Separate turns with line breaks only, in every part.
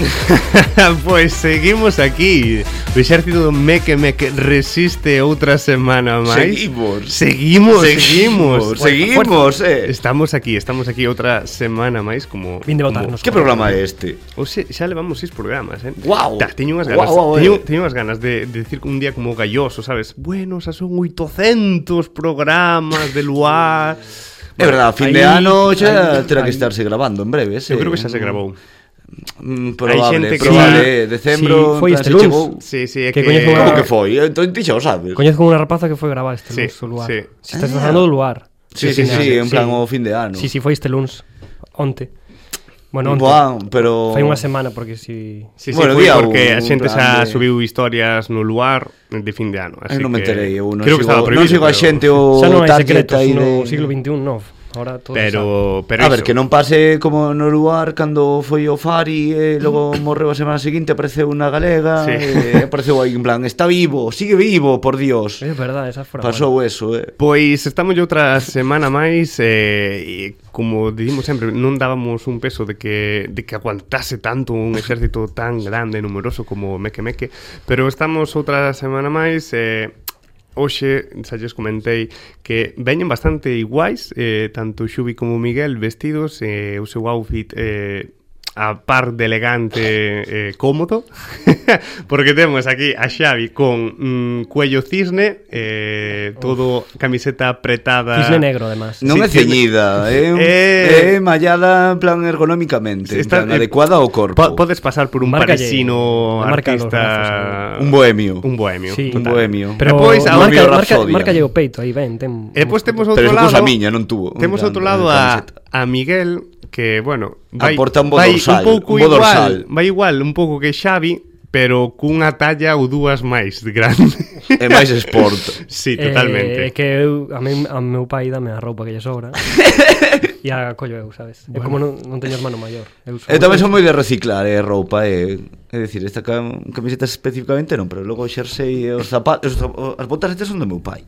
pois Pues seguimos aquí O exército do Meque Meque resiste outra semana máis
Seguimos.
Seguimos,
Seguimos,
seguimos
seguimos, eh.
Estamos aquí, estamos aquí outra semana máis como
Vinde votarnos.
Que programa é este?
Oxe, xa levamos seis programas, eh?
Guau.
Ta, teño unhas
Guau,
ganas,
guau,
teño,
eh.
teño unhas ganas de, de decir un día como galloso, sabes? Bueno, xa son 800 programas de luar...
É verdade, a fin de
Aí-
ano xa
aí-
terá que
aí-
estarse gravando en breve,
Eu
sí.
creo que xa se grabou. Hai
Mm, probable,
xente que-
probable,
Sí,
decembro,
sí, foi
tal,
este
se
luns.
chegou.
Sí, sí, é que...
Que coñezo unha-
Como que foi? Entón ti xa o sabes.
Coñezco unha rapaza que foi gravar este
Sí,
lunes o lugar.
sí.
Si estás falando do lugar.
Sí, sí, sí, en plan o fin de ano.
Si, si, foi este lunes onte. Bueno, onte.
Buah, pero
Foi unha semana porque si
Sí, sí, bueno,
Bueno,
foi
día
porque
un,
a xente
plan
xa
de-
subiu historias no luar de fin de ano. Así
Ai, non me
que-
enterei, eu non
creo que
sigo,
estaba
non
prohibido,
sigo a
pero-
xente o
xa non hai
target
secretos
aí de-
no siglo 21, no. Ahora todo
Pero,
xa.
pero
A ver,
iso.
que non pase como no lugar cando foi o Fari e logo morreu a semana seguinte apareceu unha galega
Sí.
e apareceu aí en plan, está vivo, sigue vivo, por Dios.
Eh,
É verdade, esa fora.
Pasou eso, eh.
Pois estamos outra semana máis eh, e como dicimos sempre, non dábamos un peso de que de que aguantase tanto un exército tan grande e numeroso como Meque Meque, pero estamos outra semana máis eh, Oxe, xa lles comentei que veñen bastante iguais eh, Tanto Xubi como Miguel vestidos eh, O seu outfit eh, a par de elegante eh, cómodo porque temos aquí a Xavi con mm, cuello cisne eh, todo camiseta apretada
Cisne negro, además.
Sí,
Non é
sí,
ceñida,
Eh.
é eh, eh, mallada en plan ergonómicamente,
Está-
en plan,
eh,
adecuada ao corpo.
po- podes pasar por un
Márcalle-
parisino
marca los
artista
brazos, ¿no? Un bohemio.
un bohemio
Sí.
un
total.
bohemio.
Pero
E pois, a
marca,
Bohemio
marca,
Rhapsody.
marca o peito, aí ven, ten.
e pois temos outro
Pero eso
lado
cousa miña, non tuvo.
temos outro lado a, a Miguel que, bueno, vai,
Aporta un bo
vai un
dorsal,
pouco
un bo dorsal.
igual, vai igual un pouco que Xavi, pero cunha talla ou dúas máis grande.
É máis sport.
sí, totalmente.
É eh, que eu, a, min, a meu pai dame a roupa que lle sobra. e a collo eu, sabes? Bueno. É como non, non teño hermano maior.
Eu
Eu,
Eh, tamén son moi de reciclar eh, roupa e eh. É dicir, esta cam camiseta especificamente non, pero logo o xersei e os zapatos, os, zap- o- as botas estas son do meu pai.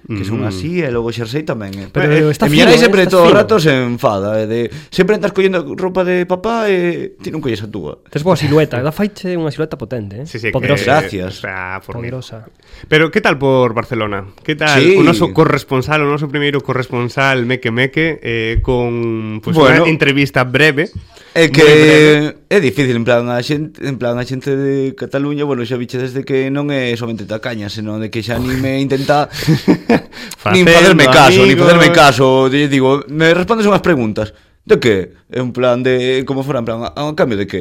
Que son así, e logo o xersei tamén. Eh.
Mm. Pero
Eh,
está
e miña
fino,
nai
eh,
sempre
está
todo o
fino.
rato se enfada, eh, de sempre andas collendo roupa de papá e ti non colles a túa.
Tes boa silueta, da faiche unha silueta potente, eh?
Sí, sí,
Poderosa.
que
Gracias.
Está fornido.
Poderosa.
Pero que tal por Barcelona? Que tal
Sí.
o noso corresponsal, o noso primeiro corresponsal Meque Meque eh, con pues,
Bueno.
bueno, unha entrevista breve
É
moi breve.
que é difícil en plan a xente, en plan a xente de Cataluña, bueno, xa biche desde que non é somente tacaña, senón de que xa ni me intenta nin
Facendo
facerme caso, nin
amigos.
facerme caso, Di- digo, me respondes unhas preguntas. De que? En plan de como fora en plan a, a cambio de que?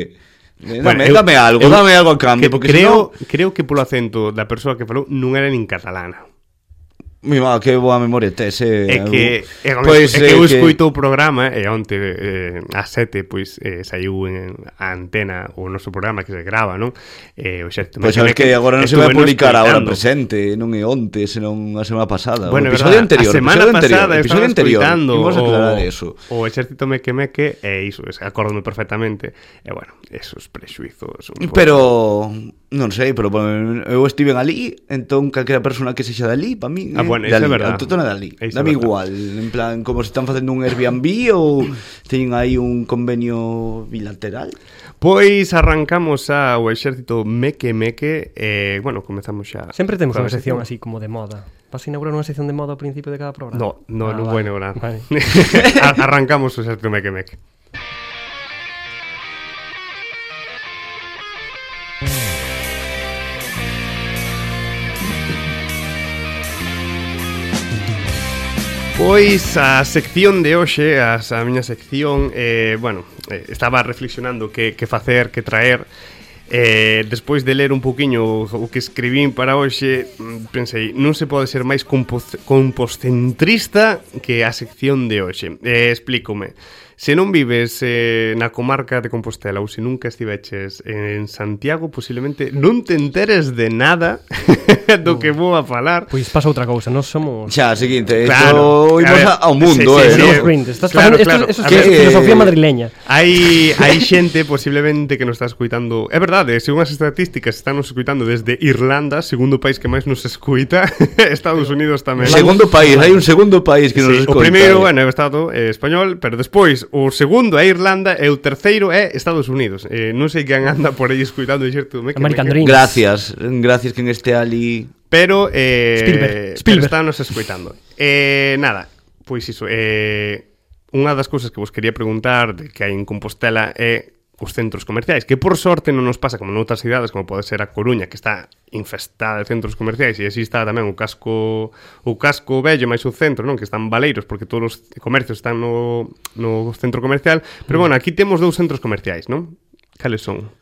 Bueno,
Eh, Dame, bueno,
eu-
dame algo,
eu-
dame algo a
que
cambio, porque
creo,
creo...
senón... creo que polo acento da persoa que falou non era nin catalana.
senón, mi má, que boa memoria tes, eh.
É que, é,
eu-
pois, é que eu
eh,
escoito o programa e onte eh, a sete pois, eh, saiu en, a antena o noso programa que se grava, non? Eh, o xerto,
Pois sabes que agora non se vai publicar a hora presente, non é onte, senón a semana pasada,
Bueno,
o episodio
verdad, a
anterior,
semana
episodio anterior,
pasada
episodio
estaba
anterior.
escoitando
Imos
o-
aclarar eso.
O exército meque meque e iso, es, acórdome perfectamente. E bueno, esos prexuizos un pouco.
Pero non sei, pero bueno, eu estive ali, entón calquera persona que sexa dali, pa min,
Ah, bueno,
de
iso é
ali,
verdad.
autóctona de ali.
Iso é
Dame
verdad.
igual, en plan como se están facendo un Airbnb ou teñen aí un convenio bilateral.
Pois Pues arrancamos a o exército meque meque e, bueno, comezamos xa.
Sempre temos
coa
unha sección así como de moda. Vas a inaugurar unha sección de moda ao principio de cada programa?
No, no,
Ah,
non vou
vale.
inaugurar.
Vale.
Ar- arrancamos o exército meque meque. Pois a sección de hoxe, as, a miña sección, eh, bueno, eh, estaba reflexionando que, que facer, que traer, eh, despois de ler un poquinho o, o que escribín para hoxe, mm, pensei, non se pode ser máis compoz, composcentrista que a sección de hoxe. Eh, explícome. Se non vives eh, na comarca de Compostela ou se nunca estiveches en Santiago, posiblemente non te enteres de nada do que vou a falar.
Pois pasa outra cousa, nós somos...
Xa, seguinte,
Claro,
claro,
a
isto
ver,
imos a- ao mundo,
sí,
eh.
sí,
non?
Somos Grindr. Estás
Claro,
facendo-
claro.
Esto,
A
esto es
ver,
filosofía
eh,
madrileña.
Hai hai xente posiblemente que nos está escuitando. É verdade, según as estatísticas están nos escuitando desde Irlanda, segundo país que máis nos escuita, Estados Unidos tamén.
Segundo país, hai un segundo país que nos
Sí,
escoita.
o primeiro,
eh.
bueno, é o Estado eh, español, pero despois o segundo é Irlanda e o terceiro é Estados Unidos. Eh, non sei quen anda por aí escuitando e xerto, me que me
American
que-
Dream.
Gracias, gracias que en este ali
Pero, eh,
Spielberg,
pero
Spielberg.
estános escoitando. Eh, nada, pois iso. Eh, unha das cousas que vos quería preguntar de que hai en Compostela é os centros comerciais, que por sorte non nos pasa como noutras cidades, como pode ser a Coruña, que está infestada de centros comerciais, e así está tamén o casco o casco vello máis o centro, non que están baleiros, porque todos os comercios están no, no centro comercial.
Mm.
Pero bueno, aquí temos dous centros comerciais, non? Cales son?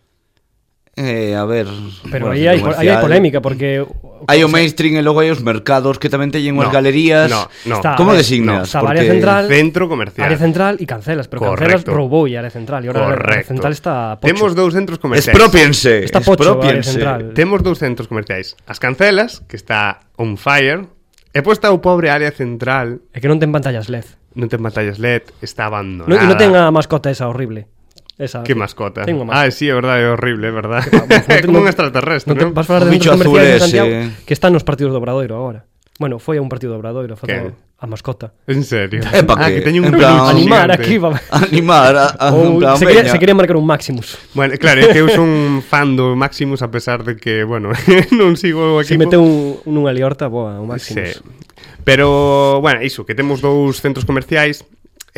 Eh, a ver...
Pero
bueno,
aí hai, aí hai
comercial.
polémica porque
Hai o mainstream e logo hai os mercados que tamén teñen
No,
unhas galerías.
no, no.
Está,
Como
a ver,
designas?
está Barea Central,
Centro comercial.
área central e cancelas, pero cancelas
Correcto.
roubou e área central e agora a área
Correcto.
central está pocho.
Temos dous centros comerciais.
Expropiense.
Está pocho,
expropiense.
área central.
Temos dous centros comerciais. As Cancelas, que está on fire. E pois está o pobre área central.
É que non ten pantallas LED.
Non ten pantallas LED, está
No,
abandonada.
e non ten a mascota esa horrible. Esa.
Que Ah. mascota.
Ten unha
ah,
mascota.
sí, é verdade, é horrible, é verdade.
te-
É como un extraterrestre,
non te-
non?
Vas falar
Un
de
bicho
centros comerciais de
azul eh. ese.
Santiago que están nos partidos do Obradoiro agora. Bueno, foi a un partido do Obradoiro,
Quen?
facendo a mascota.
En serio.
É pa
ah,
que-
que teño un
en plan-
peluche
Animar
gigante.
aquí, va.
Animar a, a
Ou
a
se quería,
veña.
se quería marcar un Maximus.
Bueno, claro, é que eu son fan do Maximus a pesar de que, bueno, non sigo o
Se
equipo.
meteu un, nunha liorta, boa, un
pues.
Maximus.
Sí. Pero, bueno, iso, que temos dous centros comerciais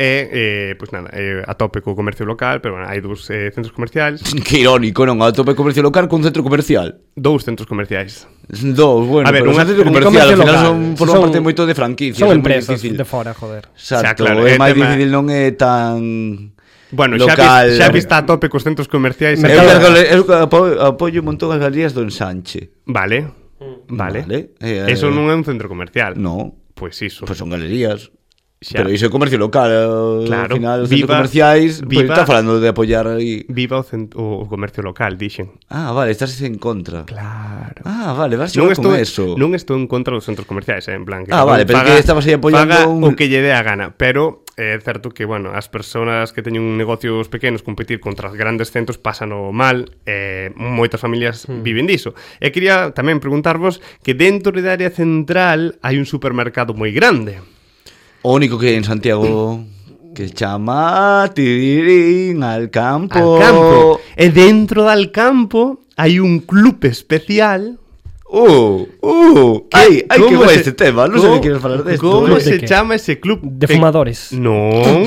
e, eh, pois nada, eh, a tope co comercio local, pero bueno, hai dous eh, centros comerciais,
Que irónico, non? A tope comercio local cun centro comercial.
dous centros comerciais.
Dous, bueno,
A ver,
pero
un
un centro
centro
comercial, ao
comercio
final
local.
son, forman
Son-
parte moito de franquicias. é
Son
moi
empresas
difícil.
de fora, joder.
Exacto,
Xa, claro, é
é máis
tema-
difícil non é tan
Bueno,
local.
xa, vis- xa vista a tope cos centros comerciais.
Eu,
Mercado-
eh,
perdo- eu apo- apoio un montón as galerías do ensanche.
Vale. Vale.
Mm. Vale, eh,
Eso non é un centro comercial.
No,
Pois iso.
pois son galerías.
Xa.
Pero iso é comercio local, eh,
Claro,
ao final os
viva-
centros comerciais, pois
viva-
está falando de apoiar aí.
Viva o, cent- o o comercio local, dixen.
Ah, vale, estás en contra.
Claro.
Ah, vale, vas
Non
xogar
estou,
con eso.
non estou en contra dos centros comerciais, eh, en plan que
Ah,
cada
vale,
un
pero que estabas aí apoiando
paga
un-
o que lle dé a gana, pero é eh, certo que, bueno, as persoas que teñen negocios pequenos competir contra os grandes centros pasano mal, eh, moitas familias mm.
Hmm.
viven diso. E quería tamén preguntarvos que dentro da área central hai un supermercado moi grande.
O único que hai en Santiago que chama Tirirín al campo.
Al campo. E Eh, dentro dal campo hai un club especial
Uh, uh, ai, ai que
como
guai
se-
este tema, non sei
como-
que queres falar desto.
Como
¿De
se
qué?
chama ese club?
De
Pe-
fumadores.
Non.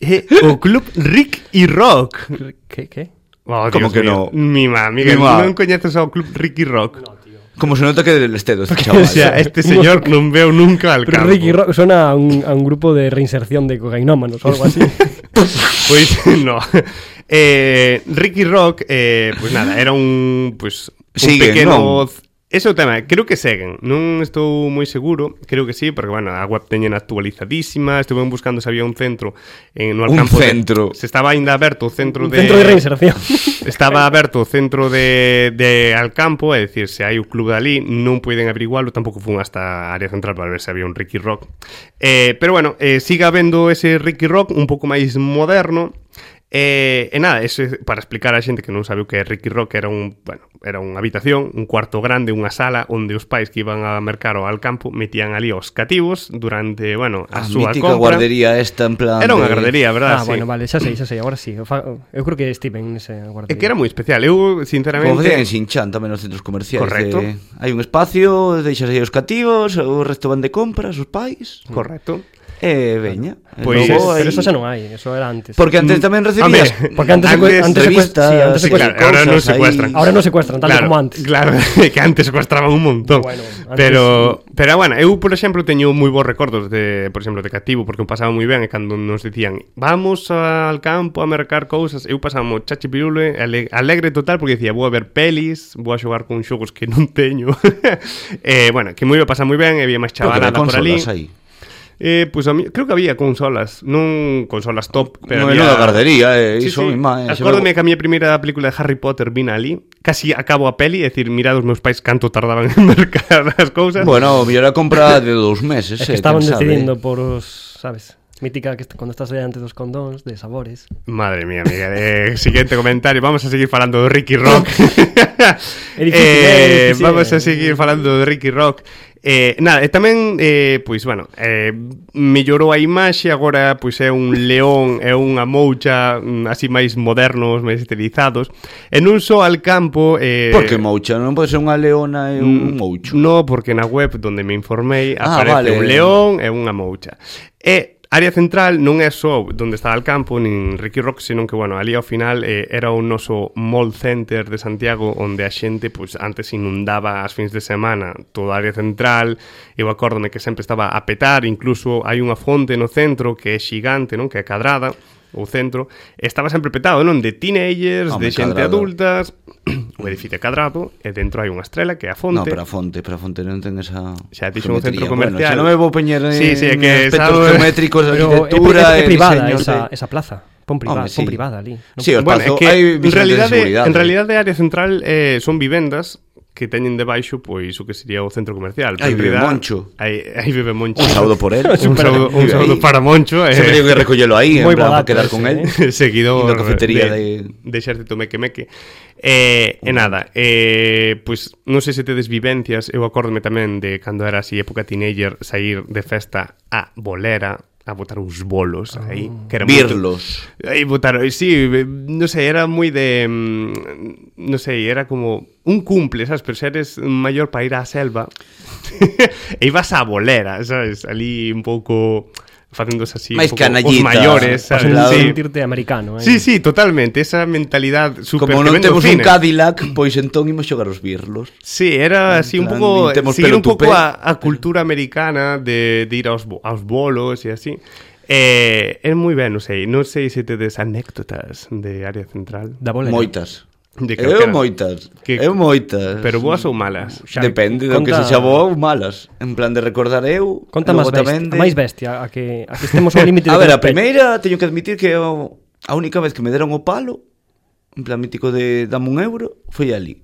É o club Rick y Rock.
Que, que?
Oh, Dios
Como que
mío.
no?
Mi mamá, Miguel,
Mi ma.
non coñeces ao club Rick y Rock.
Como se nota que del estedo este chaval.
O sea, este señor non veu nunca al
Pero
campo.
Ricky Rock suena a un, a un grupo de reinserción de cocainómanos o algo así.
Pois Pues, no. Eh, Ricky Rock, eh, pois nada, era un pois un
Siguen,
pequeno
non?
Ese é o tema, creo que seguen, non estou moi seguro, creo que sí, porque, bueno, a web teñen actualizadísima, estuve buscando se había un centro en, no
Un
campo de-
centro.
se estaba ainda aberto o centro
un
de...
centro de reinserción.
Estaba aberto o centro de, de Alcampo, é dicir, se hai o club dali, non poden averigualo, tampouco fun hasta a área central para ver se había un Ricky Rock. Eh, pero bueno, eh, siga habendo ese Ricky Rock un pouco máis moderno, Eh, e nada, eso é para explicar a xente que non sabe o que é Ricky Rock era un, bueno, era unha habitación, un cuarto grande, unha sala onde os pais que iban a mercar ou al campo metían ali aos cativos durante, bueno, a,
A
súa
Ah, mítica
compra.
guardería esta en plan
Era unha
de-
gardería, verdad?
ah,
sí.
bueno, vale, xa sei, xa sei, agora sí. Eu, fa, eu creo que Steven eh, ese
É
guardia.
que era moi especial. Eu, sinceramente...
Como facían en Sinchan tamén nos centros comerciais
Correcto.
de- Hai un espacio, deixas aí os cativos O resto van de compras, os pais
Correcto.
E veña E
Pois
logo
Pues es-
aí-
Pero eso xa non hai, eso era antes.
Porque antes tamén recibías
Hombre,
Porque antes secue- antes secue-
revistas,
sí, antes
sí,
secuestran.
claro, ahora no
cosas
secuestran.
Ahora non secuestran tanto
claro,
como antes.
Claro, que antes secuestraban un montón.
Bueno, antes-
pero pero bueno, eu por exemplo teño moi bons recordos de, por exemplo, de cativo porque eu pasaba moi ben e cando nos dicían, "Vamos al campo a mercar cousas", eu pasaba mo chachi pirule, ale- alegre total porque dicía, "Vou a ver pelis, vou a xogar con xogos que non teño". eh, bueno, que moi me pasa moi ben, e había máis
Creo que
chavalada
había
por ali.
consolas aí.
Eh, pois a mí, creo que había consolas, non consolas top, pero
Pero no,
había
menuda gardería, eh,
Sí,
iso
sí.
mi má, eh,
Acórdome
xa
que a miña primeira película de Harry Potter vin ali Casi acabo a peli, é dicir, mirad os meus pais canto tardaban en mercar as cousas
veu- Bueno, mellor a compra de dous meses
Es
eh,
que estaban
quen sabe.
decidindo por os, sabes, mítica que est- cuando estás delante dos condóns de sabores.
Madre mía, Miguel eh, Siguiente comentario, vamos a seguir falando do Ricky Rock
É difícil, é
Eh,
difícil,
vamos
eh.
a seguir falando de Ricky Rock. Eh, nada, e tamén, eh, pois, bueno, eh, mellorou a imaxe, agora, pois, é un león, é unha moucha, mm, así máis modernos, máis estilizados, e non só al campo... Eh,
Porque moucha, non pode ser unha leona e
Mm,
un moucho.
No, porque na web donde me informei
Ah,
aparece un
vale.
león e unha moucha. E área central non é só donde está el campo nin Ricky Rock, senón que, bueno, ali ao final eh, era o noso mall center de Santiago onde a xente, pois, antes inundaba as fins de semana toda a área central eu acórdome que sempre estaba a petar incluso hai unha fonte no centro que é xigante, non? Que é cadrada o centro, estaba sempre petado, non? De teenagers,
Home,
de xente
cadrado.
adultas, o edificio é cadrado, e dentro hai unha estrela que é a fonte.
No, pero a fonte, pero a fonte non ten esa
Xa dixo un centro comercial.
geometría. Bueno, xa non me vou peñer en,
Sí, sí, é que,
aspectos
sabe-
geométricos de
Pero é,
arquitectura
é, é
e
privada
diseños
esa,
de...
esa plaza. Pon privada,
Home, sí.
pon privada ali. Non-
Sí, o
Bueno,
espazo,
é que
hai
en
vigilancia de
realidade,
seguridade.
en realidade a área central eh, son vivendas que teñen debaixo pois o que sería o centro comercial. Pero en
Aí vive
realidad,
Moncho.
Aí, aí vive Moncho.
Un saúdo por él.
un saúdo, un
Vive
saúdo
aí.
para Moncho. eh,
Sempre digo que recollelo aí, en
Moi
plan, para
barato
quedar
ese,
con él.
seguidor
Indo á cafetería
de,
de-
de Exército Meque Meque. Eh, e nada, eh, pois non sei se tedes vivencias, eu acórdome tamén de cando era así época teenager sair de festa a bolera a botar uns bolos
Ah.
aí, que era
Birlos.
Aí votaron, e sí, eh, no sei, era moi de... mm, No sei, era como un cumple, sabes? Pero se eres maior para ir á selva e ibas a bolera, sabes? Ali un pouco facéndose así
Máis
un pouco os
canallita,
maiores,
pa
Vas
sabes?
a
lado.
Sí.
sentirte americano. eh.
sí, sí, totalmente, esa mentalidad super
Como
que
non
vende o
temos un
cine.
Cadillac, pois entón imos xogar os birlos.
Sí, era así un
plan,
pouco
nin temos
seguir
pelo
un pouco
tupé.
a, a cultura americana de, de ir aos, bo- aos bolos e así. Eh, é moi ben, non sei, non sei se tedes anécdotas de área central.
Da ¿eh? bolera.
Moitas.
De que- que-
Eu moitas.
que-
Eu moitas.
Pero boas ou malas?
Xa,
Depende do que
conta-
se chamou malas. En plan de recordar eu.
Conta
logo
máis bestia,
tamén de-
máis bestia, a que, a que estemos ao límite
A ver,
que
a
nos pegue.
primeira teño que admitir que o- a única vez que me deron o palo, en plan mítico de dame un euro, foi ali.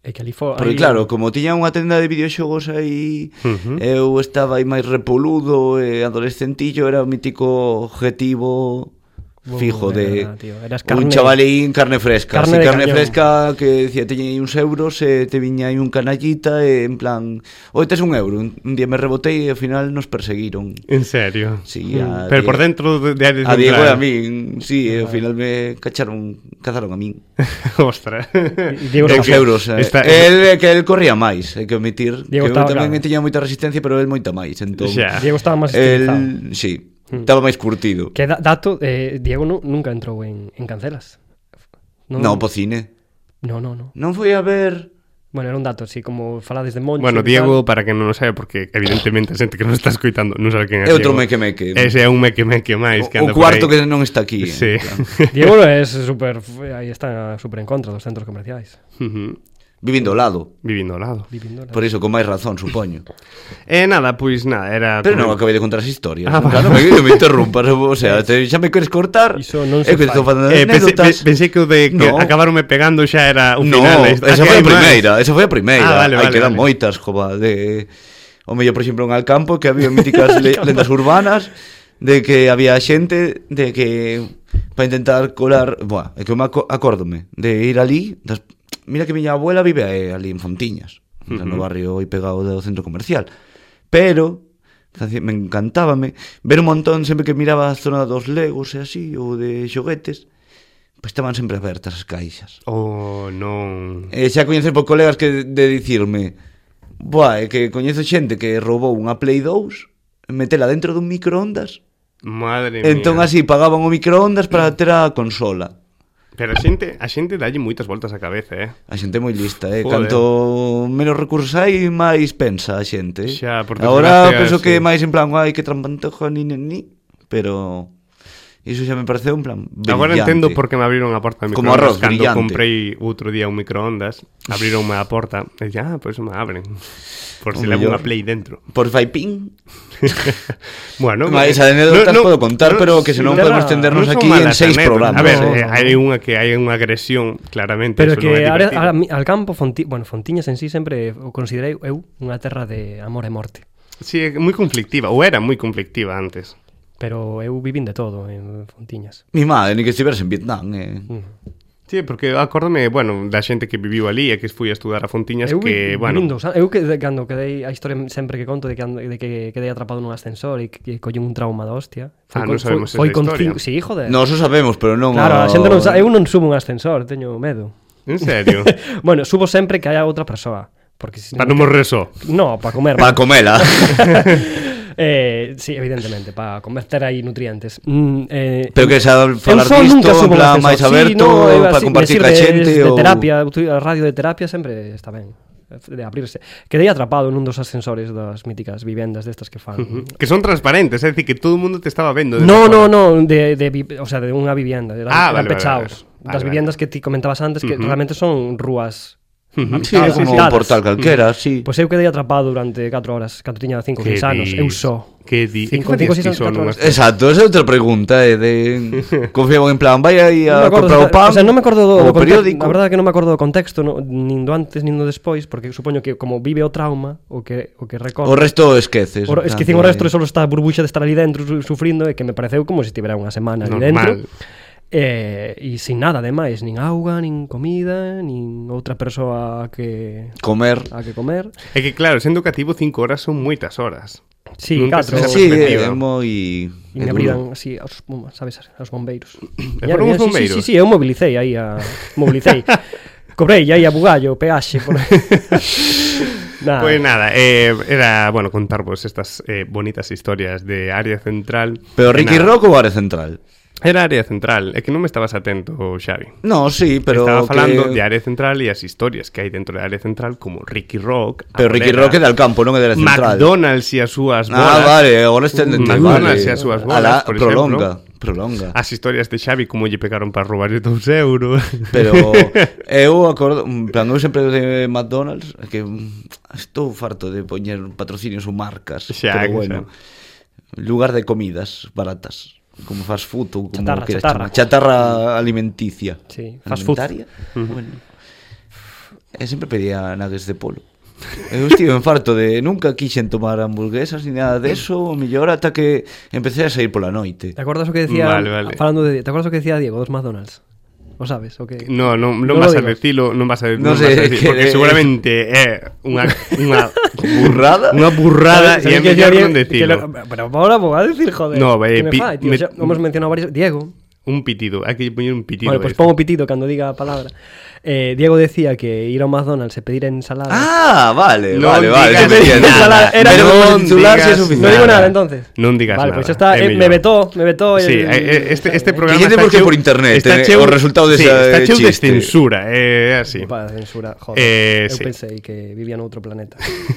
É Eh, que ali foi...
Porque claro, como tiña unha tenda de videoxogos aí,
Ujú.
eu estaba aí máis repoludo e adolescentillo, era o mítico objetivo
Bo,
fijo de
era, tío, eras
un
carne-
chavalín carne fresca, carne,
carne de
carne
cañón.
fresca que decía teñe aí uns euros e te viña aí un canallita e en plan, oi tes un euro, un, un día me rebotei e ao final nos perseguiron.
En serio. Mm.
Sí, a
Pero por
Diego-
dentro de, de área
A
central.
Diego e a min, sí, e ao
Ah.
final me cacharon, cazaron a min.
Ostras. É
Diego
Dos
está-
que-
euros, eh.
está-
El, que el corría máis, hai que admitir.
Diego
que eu
estaba
tamén
claro.
tiña moita resistencia, pero el moita máis, entón.
Xa.
Diego estaba máis estilizado.
El, sí, estaba máis curtido.
Que da, dato, eh, Diego nu, nunca entrou en, en cancelas.
Non, no, po cine.
No, no, no.
Non foi a ver...
Bueno, era un dato, así como falades de Moncho.
Bueno,
e tal.
Diego, para que non o sabe, porque evidentemente a xente que non está escoitando non sabe quen é
É outro
Diego.
meque-meque.
Ese é un meque-meque máis que anda
o
por aí.
cuarto que non está aquí. eh,
Sí.
en plan.
Diego é super, aí está super en contra dos centros comerciais.
Ujú.
Vivindo ao lado.
Vivindo ao lado.
Vivindo na-
Por iso, con máis razón, supoño.
E nada, pois nada, era...
Pero non
como-
acabei de contar as historias.
Ah,
Ah, claro, non me, non me interrumpas. O sea, te, xa me queres cortar.
Iso non
é
se
que
fai.
estou falando
Eh,
de
pensei, pe-
anécdotas.
pensei que o de que
No.
acabaronme pegando xa era o
No,
final. da historia. Ah,
esa foi
que
a
hai máis.
primeira, esa foi a primeira.
Ah, vale,
Hai
vale,
que dar
vale.
moitas, jova, de o mellor, por exemplo, en Alcampo que había míticas le lendas urbanas de que había xente de que para intentar colar, buah, é que eu me aco- acórdome de ir ali, das, mira que miña abuela vive eh, ali en Fontiñas, uh -huh. no barrio aí pegado do centro comercial. Pero faci- me encantábame ver un montón sempre que miraba a zona dos legos e así ou de xoguetes, pois estaban sempre abertas as caixas.
Oh, non...
E Eh, xa coñeces por colegas que de dicirme Buah, é que coñezo xente que roubou unha Play 2 Metela dentro dun microondas
Madre mía.
Entón así pagaban o microondas para ter a consola
Pero a xente, a xente dalle moitas voltas á cabeza, eh?
A xente é moi lista, eh?
Joder.
Canto menos recursos hai, máis pensa a xente eh?
Xa, por
Agora
desgracia,
penso que
sí.
máis en plan Ai, que trampantoja, ni, ni, ni Pero iso xa me pareceu en plan brillante.
Agora entendo por que me abriron a porta do
Como
microondas
arroz
cando
brillante.
comprei outro día un microondas, abrironme a porta e dixen, ah, pois pues me abren. Por
O
se levo unha
mellor.
Play dentro.
Por Faipín
bueno,
Máis
eh,
anécdotas podo contar, pero que senón
non
podemos
era-
estendernos
non son
aquí en
malas
seis
anécdotas.
programas.
A ver,
No,
eh,
no.
hai unha que hai unha agresión, claramente,
Pero
eso non é
que ahora,
divertido.
ahora mi- al campo, Fonti, bueno, Fontiñas en sí sempre o considerei eu unha terra de amor e morte.
Sí, é moi conflictiva, ou era moi conflictiva antes.
Pero eu vivín de todo en Fontiñas.
Mi madre, ni que estiveres en Vietnam eh?
Mm.
Sí, porque acórdame, bueno, da xente que viviu ali e que foi a estudar a Fontiñas
eu
que,
que,
bueno,
vivindo, eu que de- cando quedei a historia sempre que conto de que, ando, de que quedei atrapado nun ascensor e que collín un trauma da hostia.
Ah, non sabemos esa
foi, foi con
historia.
cinco, sí, joder.
Nós o sabemos, pero non
Claro, a xente non sa...
sabe.
eu non subo un ascensor, teño medo.
en serio,
Bueno, subo sempre que haya outra persoa, porque si
para non morrer só.
No, para comer.
Para comela.
eh, sí, evidentemente, para comer ter aí nutrientes. Mm, eh,
pero que xa falar
só
disto,
nunca
en
subo un
plan
ascensor.
máis
Sí,
aberto,
no, eu
para
así,
compartir
me
ca
sirve
xente
de
ou...
terapia, util- a radio de terapia sempre está ben de abrirse. Quedei atrapado nun dos ascensores das míticas vivendas destas que fan.
Que son transparentes, é dicir que todo o mundo te estaba vendo. desde
No,
fora.
no, no, de, de, vi- o sea, de unha vivienda, eran,
Ah,
eran
vale, vale,
pechaos.
vale, vale.
das
Vale,
viviendas que ti comentabas antes que
Ujú.
realmente son rúas.
Ujú.
Sí,
Ah,
é como
sí,
un
sí.
portal calquera, sí.
Pois eu quedei atrapado durante 4 horas, cando tiña 5 ou 6 anos, eu só.
Que di? E
Cinco,
que
cinco,
facías ti
seis,
só
catro
nunha
horas.
Exacto, esa é outra pregunta, é de... Confiaban en plan, vai aí a
Non me acordo,
comprar o
o
pan,
sea, non me acordo do,
o
do contexto,
periódico.
a verdade é que non me acordo do contexto, no, nin do antes nin do despois, porque supoño que como vive o trauma, o que o que
O
recordo.
resto esqueces.
o,
en plan,
esquecín o
de-
resto e só está a burbuxa de estar ali dentro su- sufrindo e que me pareceu como se tivera unha semana ali dentro.
Normal.
Eh, e sin nada ademais, nin auga, nin comida, nin outra persoa que
Comer.
a que comer.
É que claro, sendo cativo cinco horas son moitas horas.
Sí,
Nunca
catro.
se
Sí, eh,
perspectiva.
é moi...
E
é
me
duro.
abriran así aos, bum, sabes, aos bombeiros.
E
Ya,
foron os
ya, sí,
bombeiros?
Sí, sí, sí, eu mobilicei aí a mobilicei. Cobrei aí a bugallo, o peaxe por Nada.
Pues nada, eh, era, bueno, contarvos estas eh, bonitas historias de área central.
Pero
E
Ricky
nada,
Rock ou Área Central?
Era área central, é que non me estabas atento, Xavi.
No, sí, pero...
Estaba falando
que...
de área central e as historias que hai dentro da área central como Ricky Rock, a
Pero Ricky
colega,
Rock é de Alcampo, non é de Área Central.
McDonald's e as súas
Ah,
bolas. Mm.
vale, agora estendente.
McDonald's
vale.
e as súas
A la-
bolas, por
prolonga,
exemplo.
prolonga.
As historias de Xavi como lle pegaron para robarlle dous euros.
Pero eu acordo, en plan, eu sempre de McDonald's que mm, estou farto de poñer patrocinios ou marcas,
Xa,
pero
que
bueno. Lugar de comidas baratas, como fast food ou como
Chatarra,
queres
chatarra.
chamar. chatarra alimenticia.
Sí, fast food.
Alimentaria? Bueno. Eu sempre pedía nuggets de polo. Eu estive en farto de nunca quixen tomar hamburguesas ni nada de eso, o mellor ata que empecé a sair pola noite.
Te acordas o que decía
Vale, vale.
falando de, te acordas o que decía Diego dos McDonald's? O sabes o que
No, non, non
lo
vas a
digas.
decilo, non vas a,
No
non
sé,
vas a decir,
que
porque
de-
seguramente eh, é unha, unha,
Burrada?
unha burrada e é
¿Sabes- sabes que decía
mellor non
Diego- que
decilo.
lo- Pero ahora vou a decir, joder.
No,
que
eh,
me
pi-
fai, tío,
me-
xa hemos mencionado varios Diego,
Un pitido, hai que lle poñer un pitido.
Bueno,
a
pues
esto.
pongo pitido cando diga a palabra. Eh, Diego decía que ir a un McDonald's e pedir ensalada.
Ah, vale,
Non
vale, vale.
digas
te entiendo.
nada,
era-
Pero
non
con el titular sí
digas
es suficiente.
No digo
nada.
nada entonces.
Non digas
vale,
nada,
Pues ya está,
é
eh, me
mellor.
vetó, me vetó.
Sí,
el-
eh, este, este programa
Quillete
está
porque
cheo-
por internet,
está
eh,
cheo-
o resultado
sí,
desa-
está cheo de
chiste.
censura, é eh, así.
Para censura, joder.
Eh,
eu
sí.
pensei que vivía noutro planeta.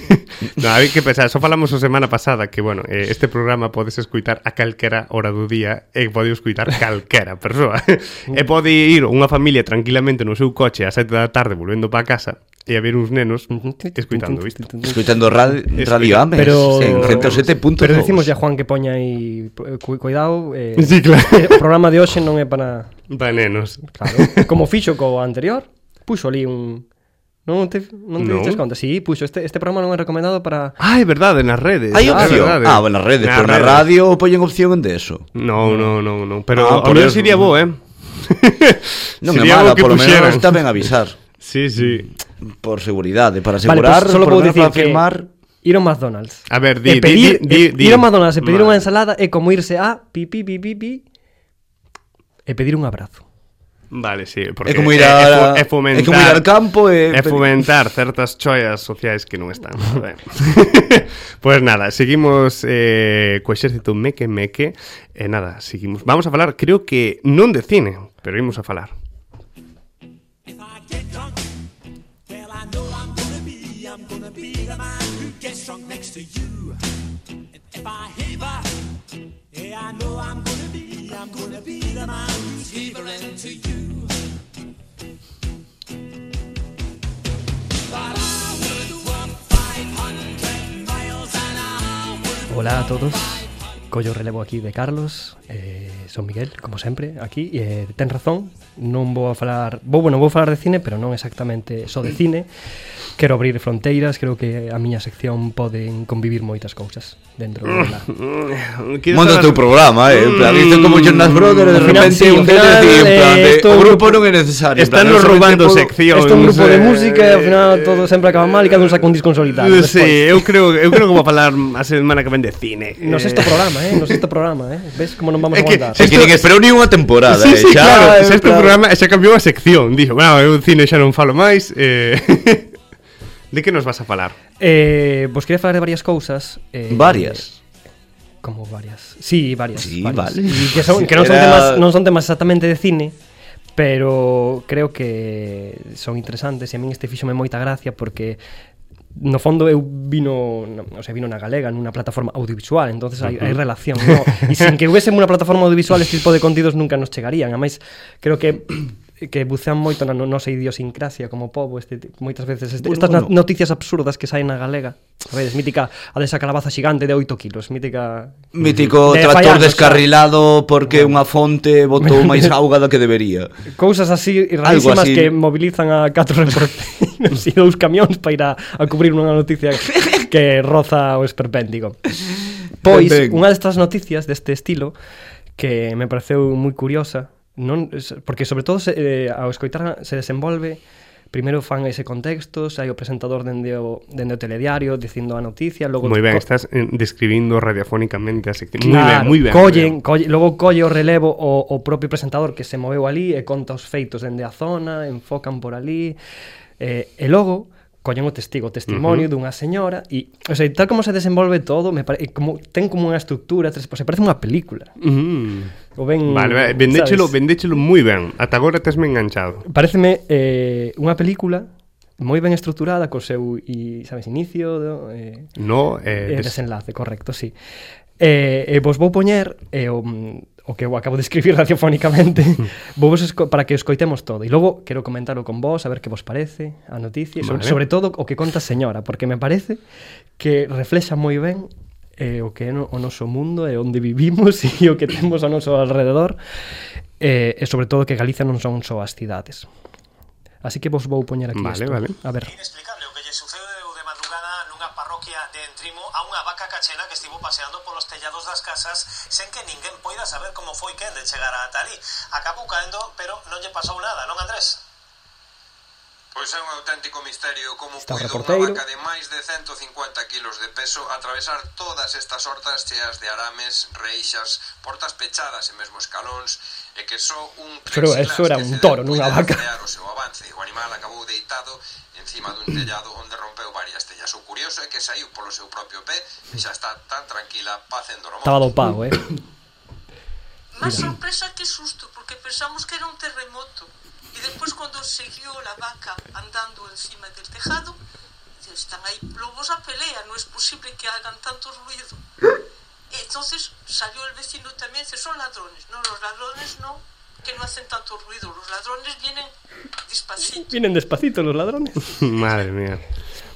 no, hai que pensar, só falamos a semana pasada que, bueno, eh, este programa podes escuitar a calquera hora do día e pode escuitar calquera persoa. e pode ir unha familia tranquilamente no seu coche a 7 da tarde volvendo para casa e haber uns nenos escuitando isto.
Escuchando radio, radio Ames
Pero,
en 107.2.
pero decimos ya, Juan, que poña aí cu, cuidado. Eh,
Sí, claro.
O programa de hoxe non é para...
Para nenos.
Claro. Como fixo co anterior, puxo ali un... Non te, non te
Non.
diches conta? Sí, puxo. Este, este programa non é recomendado para...
Ah, é verdade, nas redes.
Hai
É
opción.
verdade.
Ah, bueno, nas redes, pero na
redes.
radio poñen opción de eso.
No, no, no, no. Pero
Ah,
ah,
por
por
eso.
sería bo, eh?
Non é
Sería bo
mala,
que
por lo menos
puxeran.
está ben avisar.
Sí, sí.
Por seguridade, para
Vale,
asegurar,
pues solo
por lo
puedo
menos
decir
para
que
afirmar...
ir a un McDonald's.
A ver, di,
E
di,
pedir-
di,
eh,
di,
e-
di.
Ir a un McDonald's e pedir
Vale.
unha ensalada é como irse a pi, pi, pi, pi, pi, e pedir un abrazo.
Vale, sí. Porque
É como ir
é- é
a-
fo- é fomentar,
é como ir al campo e-
É fomentar certas choias sociais que non están. Pois pues nada, seguimos eh, co exército meque meque. E eh, nada, seguimos. Vamos a falar, creo que non de cine, pero imos a falar.
If I get drunk, well, I know I'm gonna be, I'm gonna be the man who gets drunk next to you. And if I heaver, yeah, I know I'm gonna be, I'm gonna be the man who's heavering to you. But I would walk 500 miles an hour.
Hola a todos. Collo relevo aquí de Carlos. Eh, eh, son Miguel, como sempre, aquí e eh, ten razón, non vou a falar vou, bueno, vou falar de cine, pero non exactamente só de cine quero abrir fronteiras creo que a miña sección poden convivir moitas cousas dentro dela
Quieres
Eh, Monta o
falar-
teu programa, eh, en plan, isto é como Jonas Brothers, de
Ao Mm, final,
repente
sí, ao
un día
final,
te di, en
eh,
plan, de,
isto é
o
un
grupo
grupo-
non é necesario. en plan,
Están nos
solamente
robando
puedo-
seccións.
Este é un grupo de música e ao
eh,
final todo sempre acaba mal e cada un saca un disco en solitario
Sí, eu creo, eu creo que vou falar a semana que vende cine.
No sexto programa, eh? No sexto programa, eh? Ves como non vamos
É que-
aguantar?
É que nin esperou nin unha temporada,
Sí,
eh,
sí,
xa,
claro,
en
xa este
plan-
programa e xa cambiou a sección Dixo, bueno, eu cine xa non falo máis eh... De que nos vas a falar?
Eh, vos quería falar de varias cousas eh,
Varias.
Como varias Sí, varias
Sí,
varias.
vale.
Y que, son, que non, son
Era-
temas, non son temas exactamente de cine Pero creo que son interesantes E a min este fixome moita gracia porque No fondo eu vino, no, o sea, vino na galega nunha plataforma audiovisual, entonces hai, hai relación, no? E sin que houvese unha plataforma audiovisual este tipo de contidos nunca nos chegarían. Ademais, creo que que bucean moito na no- nosa idiosincrasia como pobo, este ti- moitas veces este,
Bueno,
estas na-
bueno.
noticias absurdas que saen na galega. Sabedes, mítica a desa calabaza xigante de 8 kilos, mítica...
Mítico
De
tractor
Faianos,
descarrilado porque unha fonte botou máis auga da que debería.
Cousas así rarísimas
así.
que movilizan a catro reporteros e dous camións para ir a, a cubrir unha noticia que roza o esperpéntico. Pois,
Ben, ben.
unha destas noticias deste estilo que me pareceu moi curiosa, non es- porque sobre todo se, eh, ao escoitar se desenvolve Primeiro fan ese contexto, hai o presentador dende o, dende o telediario dicindo a noticia, logo
Moi ben,
co-
estás eh, describindo radiofónicamente a sección
Claro,
Moi ben, moi ben
collen, colle, logo colle o relevo o, o propio presentador que se moveu ali e conta os feitos dende a zona, enfocan por ali eh, e logo collen o testigo, o testimonio uh -huh. dunha señora e, o sea, tal como se desenvolve todo, me pare, e como ten como unha estructura, tres, o sea, parece unha película.
Mm.
O ben,
Vale, vale, vendéchelo,
Mm, sabes?
vendéchelo moi ben Ata agora tesme enganchado
Pareceme eh, unha película moi ben estruturada co seu i, sabes, inicio, do, eh,
No,
Eh,
eh, des...
desenlace, correcto, sí. Eh, eh, vos vou poñer eh, o, mm, o que eu acabo de escribir radiofónicamente vou vos esco- para que o escoitemos todo e logo quero comentarlo con vos, a ver que vos parece a noticia, e sobre,
Vale.
sobre todo o que conta a señora, porque me parece que reflexa moi ben eh, o que é no, o noso mundo e onde vivimos e o que temos ao noso alrededor eh, e sobre todo que Galicia non son só as cidades así que vos vou poñer aquí
Vale,
isto.
vale.
a ver
Inexplicable o que lle sucedeu de madrugada nunha parroquia de Entrimo a unha vaca cachena que estivo paseando polos tellados das casas sen que ninguén poida saber como foi quen de chegar ata ali. Acabou caendo, pero non lle pasou nada, non Andrés?
Pois é un auténtico misterio como
Está o
puido
reporteiro.
unha vaca de máis de 150 kilos de peso atravesar todas estas hortas cheas de arames, reixas, portas pechadas e mesmo escalóns, e que só un
Pero eso era eh, un toro, nunha vaca.
frear o seu avance. O animal acabou deitado encima dun tellado onde rompeu varias tellas. O curioso é que saiu polo seu propio pé e xa está tan tranquila facendo no
estaba dopado, eh
Más sorpresa que susto, porque pensamos que era un terremoto. Y después cuando siguió la vaca andando encima del tejado, dice, están ahí lobos a pelea, no es posible que hagan tanto ruido. Entonces salió el vecino también, dice, son ladrones. No, los ladrones no, que no hacen tanto ruido. Los ladrones vienen despacito.
vienen despacito los ladrones
Madre mía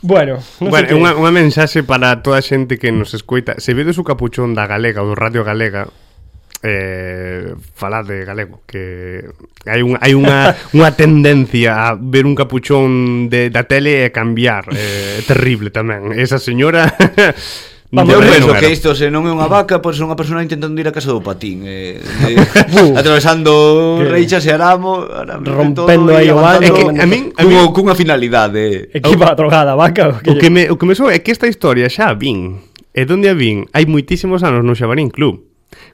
Bueno, non
bueno, é
sei que-
unha, unha mensaxe para toda a xente que nos escoita Se vedes o capuchón da Galega, ou do Radio Galega eh, falad de galego que hai, un, hai unha, unha tendencia a ver un capuchón de, da tele e cambiar eh, é terrible tamén esa señora
Vamos,
Eu
de
penso
Reno
que
era.
isto se non é unha vaca, pois é unha persona intentando ir a casa do patín, eh, de,
Uh.
atravesando
Que-
reixas e aramo, arame, de
Rompendo aí o
avanzando
É que a min- a
cunha-
min-
cunha finalidade. eh.
Equipa drogada, vaca o
O
que,
que me, o que me soa é que esta historia xa a vin E donde a vin hai moitísimos anos no Xabarín Club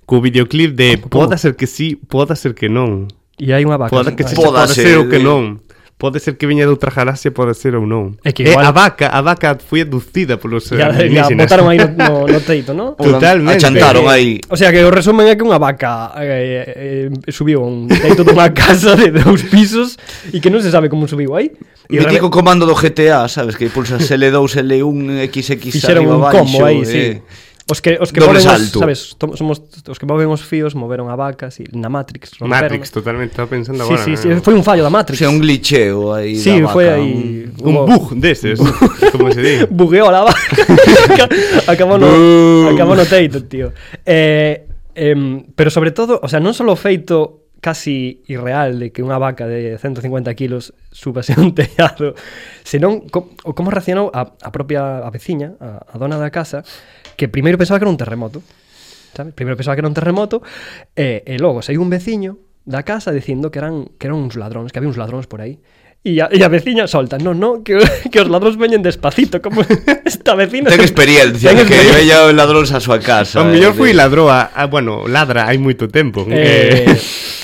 Co videoclip de
Como, como?
Poda ser que sí, poda ser que non
E hai unha vaca
Poda que
non?
sí, poda
Poda
ser
ser,
ou que
eh.
non Pode ser que viña de outra galaxia, pode ser ou non
É que
E
igual-
a vaca, a vaca foi aducida polos
Ya, ya,
alienígenas
botaron aí no, no, no teito, no?
Pois, Totalmente.
Achantaron aí.
O sea que o resumen é que unha vaca eh, eh, subiu a un teito dunha casa de dous pisos e que non se sabe como subiu aí. E
Mítico comando do GTA, sabes, que pulsas L2, L1, XX
fixeron
arriba
un
abaixo,
combo
eh.
aí, sí. Os que os que
Doble
moven os,
salto.
sabes, to- somos os que moven os fíos, moveron a vaca, si, na Matrix,
Matrix,
romperon.
totalmente, estaba pensando
Sí,
agora
sí, sí,
non?
foi un fallo
O
da Matrix.
sea, un glitcheo aí
Sí,
da vaca,
foi aí
Un
hubo-
bug deses, como se di
Bugueou a lava. Acabou no,
Bum.
acabou no teito, tío. Eh, Em, pero sobre todo, o sea, non só o feito casi irreal de que unha vaca de 150 kilos subase a un tellado, senón co, o como reaccionou a, a propia a veciña, a, a dona da casa, que primeiro pensaba que era un terremoto. Sabes? Primeiro pensaba que era un terremoto e, e logo saiu un veciño da casa dicindo que eran que eran uns ladróns, que había uns ladróns por aí. E a, e a veciña solta, no, no, que, que os ladróns veñen despacito, como esta vecina.
Ten experiencia,
Ten
que
experiencia.
veía o ladrón a súa casa.
O
eh,
mellor
de-
foi ladroa, ah, bueno, ladra hai moito tempo.
Eh,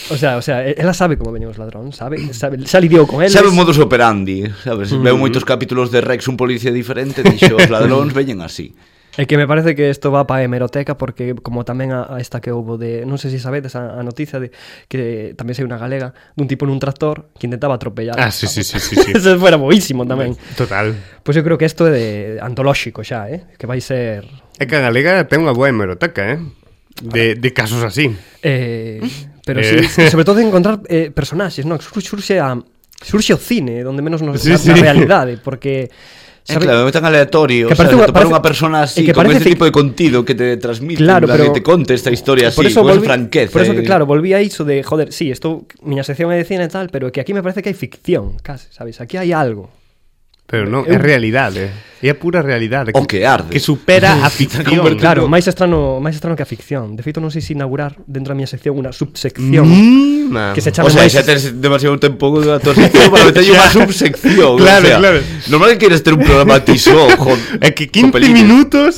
Eh,
o sea, o sea, e- ela sabe como veñen os ladróns, sabe, sabe, xa lidiou con eles.
Sabe o modus operandi, sabes?
Mm.
Veo moitos capítulos de Rex un policía diferente, dixo, os ladróns veñen así.
E que me parece que isto va para a hemeroteca porque como tamén a, a esta que houbo de, non sei se sabedes a, a noticia de que tamén sei unha galega dun tipo nun tractor que intentaba atropellar.
ah, sí, sí, sí, sí, sí.
Eso fuera boísimo tamén.
Total.
Pois eu creo que isto é de antolóxico xa, eh? que vai ser
É que a galega ten unha boa hemeroteca, eh? De, de casos así.
Eh, pero
Eh.
sí, sí, sobre todo encontrar eh, personaxes, non? Sur- Surxe a surxe o cine, onde menos nos
Sí,
da
sí.
a realidade, ¿eh? porque
É Eh, claro, me tan aleatorio,
Que
que
parece
sabes,
unha-
topar
parece-
unha persona
é
así,
que
con
parece
este
fic-
tipo de contido que te transmite,
Claro,
en plan,
pero-
que te conte esta historia así,
por eso
con esa
volví-
franqueza.
Por eso que
eh.
claro, volví a iso de, joder, sí, esto miña sección é de cine e tal, pero que aquí me parece que hai ficción, casi, sabes? Aquí hai algo.
Pero non, é
Eu-
realidade. É a pura realidade.
O que arde.
Que supera a ficción.
convertido-
Claro, máis estrano, máis estrano que a ficción. De feito non sei se inaugurar dentro da miña sección unha subsección
Mm, man.
que se
Ah. O
chame
sea,
máis
xa tens demasiado tempo da tua sección para meter unha subsección.
Claro,
o sea,
claro.
Normal que queres ter un programa tiso, con...
É que 15
con pelillos.
minutos...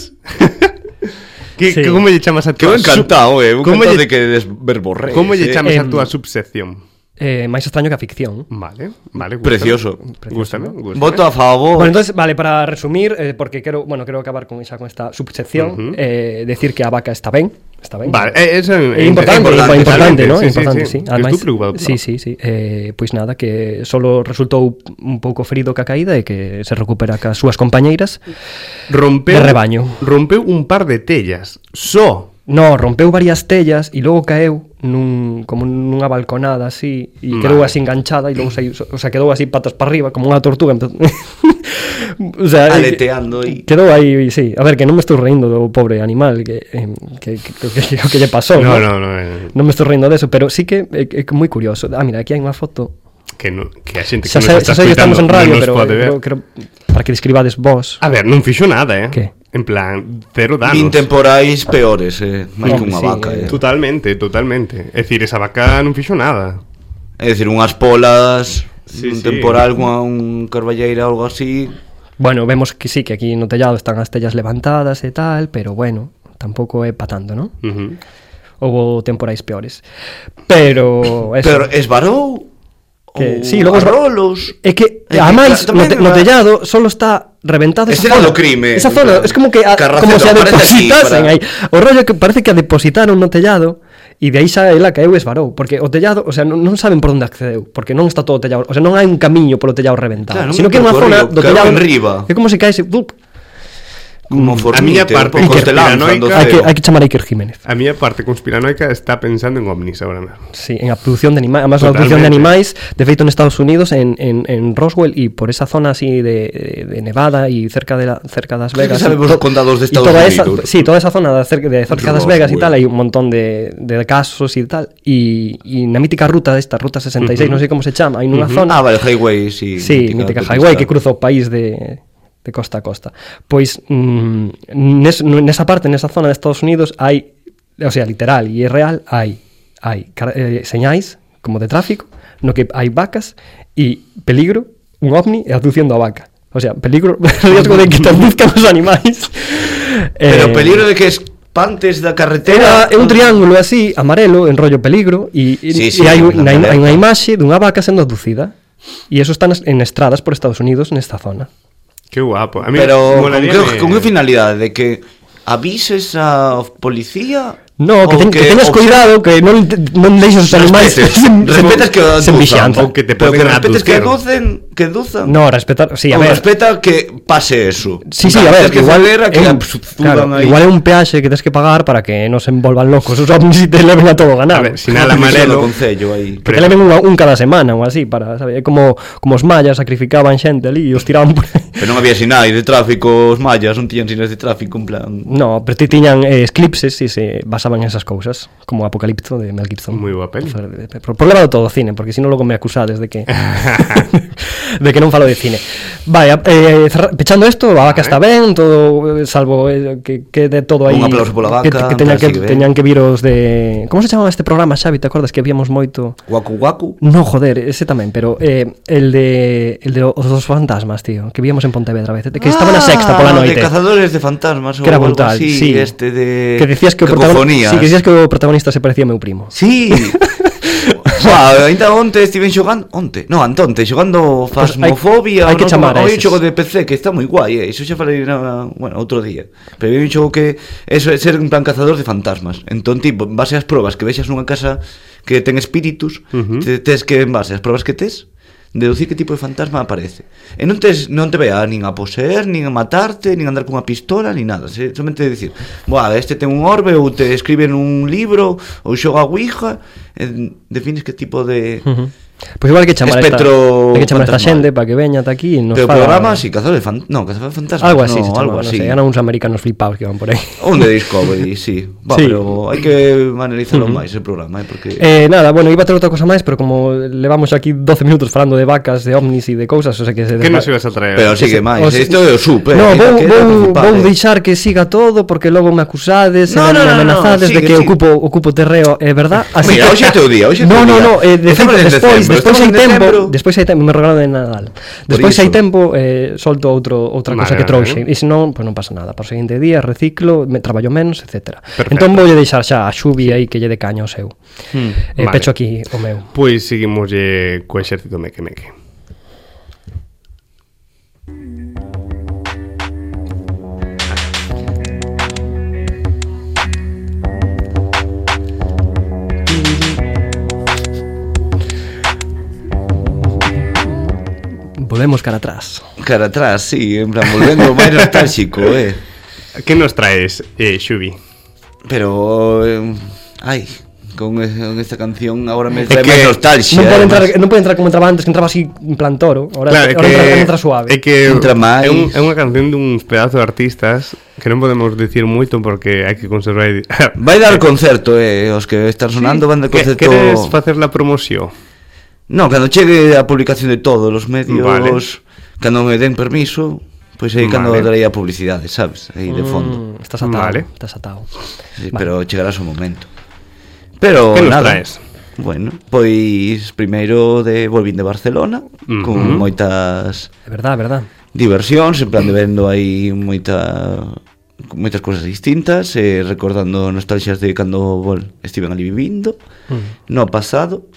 que,
Sí.
que como lle chamas a
Que
tua...
eu encantado, eh. Eu
Como
encantado
lle-
de que desverborré.
Como lle chamas a
Em,
tua subsección?
eh, máis estraño que a ficción.
Vale, vale. gústame.
Precioso.
Precioso,
Gústame,
¿no?
gústame.
Voto a favor.
Bueno, entonces, vale, para resumir, eh, porque quero, bueno, quero acabar con esa con esta subsección,
Ujú.
eh, decir que a vaca está ben, está ben.
Vale, eh, eso é
É importante, é importante,
totalmente,
¿no? É
sí, sí,
importante,
sí.
sí.
Eu estou preocupado.
sí, sí, sí. Eh, pois nada, que solo resultou un pouco ferido ca caída e que se recupera ca súas compañeiras.
Rompeu,
De rebaño.
Rompeu un par de tellas. Só.
No, rompeu varias tellas e logo caeu nun, como nunha balconada así e
Vale.
quedou así enganchada e logo saiu, o sea, quedou así patas para arriba como unha tortuga. Entón... o sea, eh,
Aleteando e-
Quedou aí, sí. A ver, que non me estou reindo do pobre animal que eh, que que, que, que, que lle pasou.
No,
¿no?
no, no. eh,
Non me estou rindo deso, pero sí que é, é moi curioso. Ah, mira, aquí hai unha foto.
Que, no, que a xente que
Xa
nos
sei,
está
xa sei que
escoitando
estamos en
non
radio,
nos
pero
pode ver.
creo, creo, para que describades vos.
A ver, non fixo nada, eh?
Que?
En plan, cero danos.
Nin temporais peores, eh. Máis que
Hombre,
unha
sí,
vaca,
eh.
eh.
Totalmente, totalmente. É dicir, esa vaca non fixo nada.
eh. É dicir, unhas polas,
Sí,
un
sí.
temporal, unha, un carballeira ou algo así.
Bueno, vemos que sí, que aquí no tellado están as tellas levantadas e tal, pero bueno, tampouco é patando, non?
Uh -huh.
Houbo temporais peores. Pero eso.
Pero esvarou ou
que sí, logo Eh,
arrolos.
É que
É que,
ademais
Eh, claro,
no, te,
tamén
no
era-
tellado solo está reventado
Ese era do crime,
Esa
en
zona,
plan,
es como que a,
Carracedo,
como se a
aparece aquí
depositasen
para-
aí. O rollo que parece que a depositaron no tellado e de aí xa ela caeu e esvarou, porque o tellado, o sea, non, non saben por onde accedeu, porque non está todo tellado, o sea, non hai un camiño polo tellado reventado,
Claro, un
sino que é unha zona
percorrido,
do
caeu
tellado
en riba.
É como se caese, bup,
Como
a miña
formite,
parte
un pouco te lanzan
conspiranoica-
do
hai que
ceo.
hai que chamar a Iker Jiménez.
A miña parte conspiranoica está pensando en ovnis ahora mesmo.
Sí, en a produción de animais, además a produción de
Totalmente.
animais, de feito en Estados Unidos, en, en, en Roswell e por esa zona así de, de Nevada e cerca de la, cerca das
Creo que
Vegas.
sabemos
y to-
os condados de
y
Estados
toda esa-
Unidos.
sí, toda esa zona de cerca, de cerca das
Roswell.
Vegas e tal, hai un montón de, de casos e tal. E, e na mítica ruta esta, Ruta 66, non sei como se chama, hai nunha
Ah,
zona...
vale, Highway, sí.
Sí, mítica highway que cruza o país de, de costa a costa. Pois mm, nes, nesa parte, nesa zona de Estados Unidos hai, o sea, literal e é real, hai hai car- eh, señais como de tráfico no que hai vacas e peligro, un ovni e abduciendo a vaca. O sea, peligro, riesgo de que te abduzcan os animais.
Pero o
Eh,
peligro de que espantes da
Era
carretera.
é un triángulo así, amarelo, en rollo peligro E, e,
Sí, sí,
e hai,
en
unha,
plan
hai unha
alerta.
imaxe dunha vaca sendo abducida E eso está nas- en estradas por Estados Unidos nesta zona
Que guapo. A mí
Pero con
molaría
que,
me-
con que finalidade? De que avises a policía?
No, que,
Ou
ten, que, teñas
ou que-
cuidado, que non, non deixes os animais
Respetes, respetas que o
sen
aduzan,
vixianza.
ou que te
Pero que
poden
respetes que
abducir.
aducen, que aduzan.
No, respetar, sí,
Ou
a ver.
respeta que pase eso.
Sí, sí,
En plan,
a ver,
tens que
igual
ceder a que
é un,
absurdan
claro,
aí.
igual é un peaxe que tens que pagar para que non se envolvan locos os ovnis e te leven a todo
A
ganado.
ver, sinal
Do
amarelo.
concello aí.
Que te leven un, un cada semana ou así para, sabe, é como como os mayas sacrificaban xente ali e os tiraban por aí.
Pero non había sinais de tráfico, os mallas non tiñan sinais de tráfico, en plan...
No, pero ti tiñan eh, eclipses e se basaban en esas cousas, como Apocalipto de Mel Gibson.
Moi boa peli.
Falar de- de- Pro problema do todo o cine, porque senón logo me acusades de que de que non falo de cine. Vai, a- eh, cerra- pechando isto, a vaca está ben, todo eh, salvo eh, que que de todo aí.
Un aplauso pola vaca,
Que, que teñan
parece
que
que ben.
teñan que vir os de Como se chamaba este programa, Xavi, te acordas que víamos moito?
Guacu guacu.
No, joder, ese tamén, pero eh, el de el de os dos fantasmas, tío, que víamos en Pontevedra a veces, que estaba na sexta pola
Ah,
noite.
De cazadores de fantasmas
que era
ou algo
brutal,
así,
sí.
este de
que decías que o
cacofonías.
protagonista, sí, que decías que o protagonista se parecía a meu primo.
Sí. Wow, ainda onte estiven xogando Onte, non, antonte, xogando
Pois hai-
Fasmofobia
hai Pues que chamar a
Hai un
eses.
xogo de PC que está moi guai eh? Iso xa falei, na, bueno, outro día Pero hai un xogo que Eso é ser un plan cazador de fantasmas Entón, tipo, en base ás probas que vexas nunha casa Que ten espíritus
Ujú.
te, Tes que, en base ás probas que tes Deducir que tipo de fantasma aparece E non, tes, non te vea nin a poseer, nin a matarte Nin andar cunha pistola, nin nada se, Somente dicir, Buah, este ten un orbe Ou te escriben un libro Ou xoga a Ouija eh, Defines que tipo de...
Ujú. Pois igual hai que chamar a esta,
Espectro
hai que chamar a esta
fantasmal.
xente para que veña ata aquí e nos
Pero o
faga-
programa, si, cazador de fantasmas No, cazador de fantasmas
eh. algo así,
no,
se chama,
algo así.
no sei, eran uns americanos flipados que van por aí.
Un de Discovery, sí. Va,
Sí.
pero hai que analizarlo máis el programa, eh, porque
Eh, nada, bueno, iba a ter outra cosa máis, pero como levamos aquí 12 minutos falando de vacas, de ovnis e de cousas, o sea que se
Que nos ibas a traer?
Pero sigue máis,
os-
isto é o sup, eh.
No,
que-
vou,
que
vou,
preocupade.
vou deixar que siga todo porque logo me acusades,
No,
e
no, no, no,
me amenazades
sigue,
de que
sigue.
ocupo ocupo terreo, é verdad?
Mira, hoxe é teu día, hoxe é
No,
teu
no,
día.
no, eh, de
Estamos en decembro,
feito, despois, despois
estamos en
hai tempo,
decembro.
despois hai tempo, me regalo de Nadal. Despois
iso.
hai tempo, eh, solto outro outra
Vale,
cosa que
vale,
trouxe,
vale.
e se non, pois non pasa nada. Para o seguinte día reciclo, me traballo menos, etcétera.
Perfecto.
Entón voulle deixar xa a Xubi aí que lle de caño o seu.
Mm.
vale.
Eh, pecho aquí o meu.
Pois seguimos eh, co exército meque meque.
Volvemos cara atrás.
Cara atrás, sí, en plan, volvendo máis nostálxico, eh.
Que nos traes, eh, Xubi?
Pero, eh, ai, con, es- con esta canción ahora me trae
que
máis nostalgia.
non pode entrar,
además.
non pode entrar como entraba antes, que entraba así en plan toro, ahora
Claro, é
ahora entra,
que
entra suave.
É que
Entra
é,
máis.
un, é unha canción duns pedazos de artistas que non podemos decir moito porque hai que conservar
Vai dar concerto, eh, os que están sonando van dar
Que-
concerto.
Queres facer la promoción?
No, cando chegue a publicación de todos os medios,
Vale.
vale. cando me den permiso, pois aí cando
Vale.
vale. darei a publicidade, sabes? Aí de fondo.
Mm, estás atado,
Vale.
estás atado.
Sí,
Vale.
Pero chegará o seu momento. Pero
Que nos
nada.
traes?
Bueno, pois primeiro de Volvín de Barcelona,
Mhm.
mm -hmm. con moitas
É verdad, é verdad.
diversións, en plan de vendo aí moita moitas cousas distintas, eh, recordando nostalgias de cando vol, estiven ali vivindo, mm. no pasado.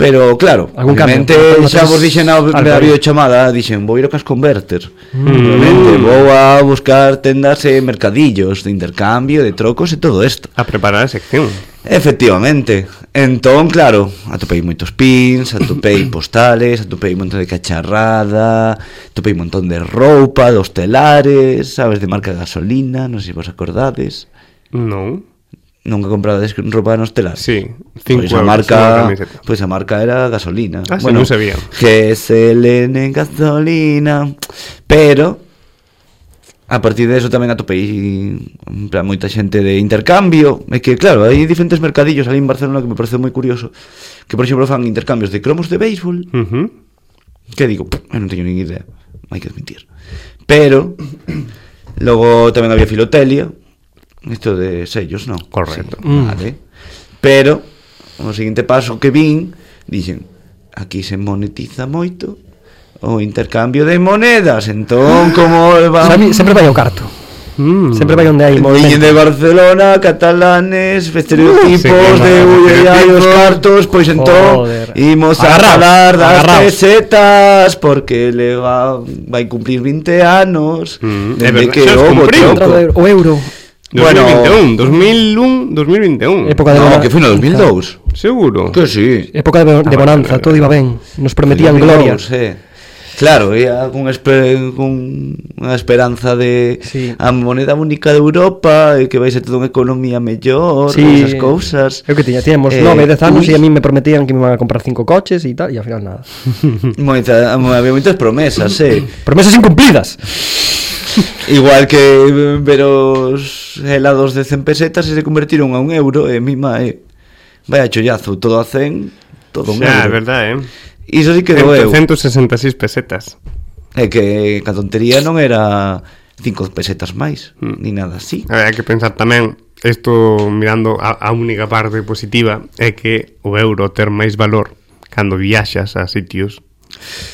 Pero claro,
Algún cambio.
obviamente
Algún
xa vos
outros
dixen na na
albariños.
videochamada, dixen, vou ir ao Cash Converter. Mm. Obviamente, vou a buscar tendas e mercadillos de intercambio, de trocos e todo isto.
A preparar a sección.
Efectivamente Entón, claro, atopei moitos pins Atopei postales, atopei un montón de cacharrada Atopei un montón de roupa, dos telares Sabes, de marca gasolina, non sei se vos acordades
Non.
Nunca comprades roupa nos telares
Sí, cinco
Pois
euros
a Pues marca,
unha camiseta.
pois a marca era gasolina.
Ah, sí, non sabía.
GSLN gasolina. Pero a partir de eso tamén atopei en plan, moita xente de intercambio É que claro, hai diferentes mercadillos ali en Barcelona que me parece moi curioso Que por exemplo fan intercambios de cromos de béisbol
Ujú.
Que digo, "Pff, eu non teño nin idea Hai que admitir Pero Logo tamén había filotelia Isto de sellos, non?
Correcto.
Sí, vale Pero O seguinte paso que vin Dixen Aquí se monetiza moito O intercambio de monedas Entón, como va...
Sabe, sempre vai ao carto.
Mm.
Sempre vai onde hai
Niñen
movimento.
de Barcelona, catalanes,
Uh,
estereotipos
Sí,
sí, de
claro,
Ullai os cartos, pues pois entón
Joder.
imos a
Agarraos,
falar das
agarraos.
pesetas porque le va vai cumplir 20 anos
Mm, é
dende
verdad,
que
xa os
houbo
cumpriu.
Entrado de-
troco.
O euro,
2021, 2001, 2021.
época de
No,
bonanza.
que foi no 2002.
Seguro.
Que
Pues
si. Pues Sí.
Época de, de bonanza, todo iba ben. Nos prometían
Feliz
gloria.
Dios, eh. Claro, ia con, esper, con unha esperanza de
Sí.
a moneda única de Europa e que vai ser toda unha economía mellor, sí. esas cousas.
Eu que tiña, tiñamos
Eh,
9, 10 anos
ui.
e a mí me prometían que me iban a comprar cinco coches e tal, e ao final nada.
Moita, había moitas promesas, eh.
Promesas incumplidas.
Igual que eh, ver os helados de 100 pesetas e se convertiron a un euro e mima eh, vai a chollazo, todo a 100 todo un
Xa, é
euro
verdad, eh?
Iso sí que doeu
166 pesetas.
É que a tontería non era 5 pesetas máis
Mm.
Ni nada así
A ver, hai que pensar tamén isto mirando a, a única parte positiva é que o euro ter máis valor cando viaxas a sitios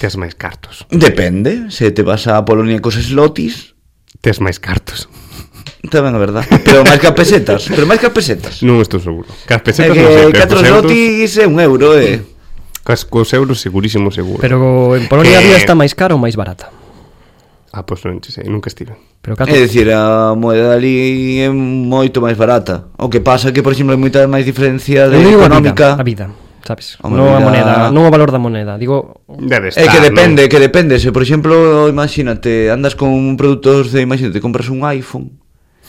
tes máis cartos.
Depende, se te vas a Polonia cos slotis
Tes máis cartos.
Tamén é verdad Pero máis que a pesetas Pero máis que a pesetas
Non estou seguro. Cas
É
pesetas non sei,
que
pero
4
cos euros,
slotis é un euro, eh
cas cos euros segurísimo seguro.
Pero en Polonia a
Que-
vida está máis cara ou máis barata?
Ah, pois non che sei, nunca estive.
Pero cato,
É dicir, a moeda ali é moito máis barata O que pasa é que, por exemplo, hai moita máis diferencia de
eu digo a vida,
económica
A vida, sabes?
Home,
non a
vida-
moneda, non o valor da moneda, digo
Debe estar,
É que depende,
non?
que depende Se, por exemplo, imagínate Andas con produtos de, imagínate, compras un iPhone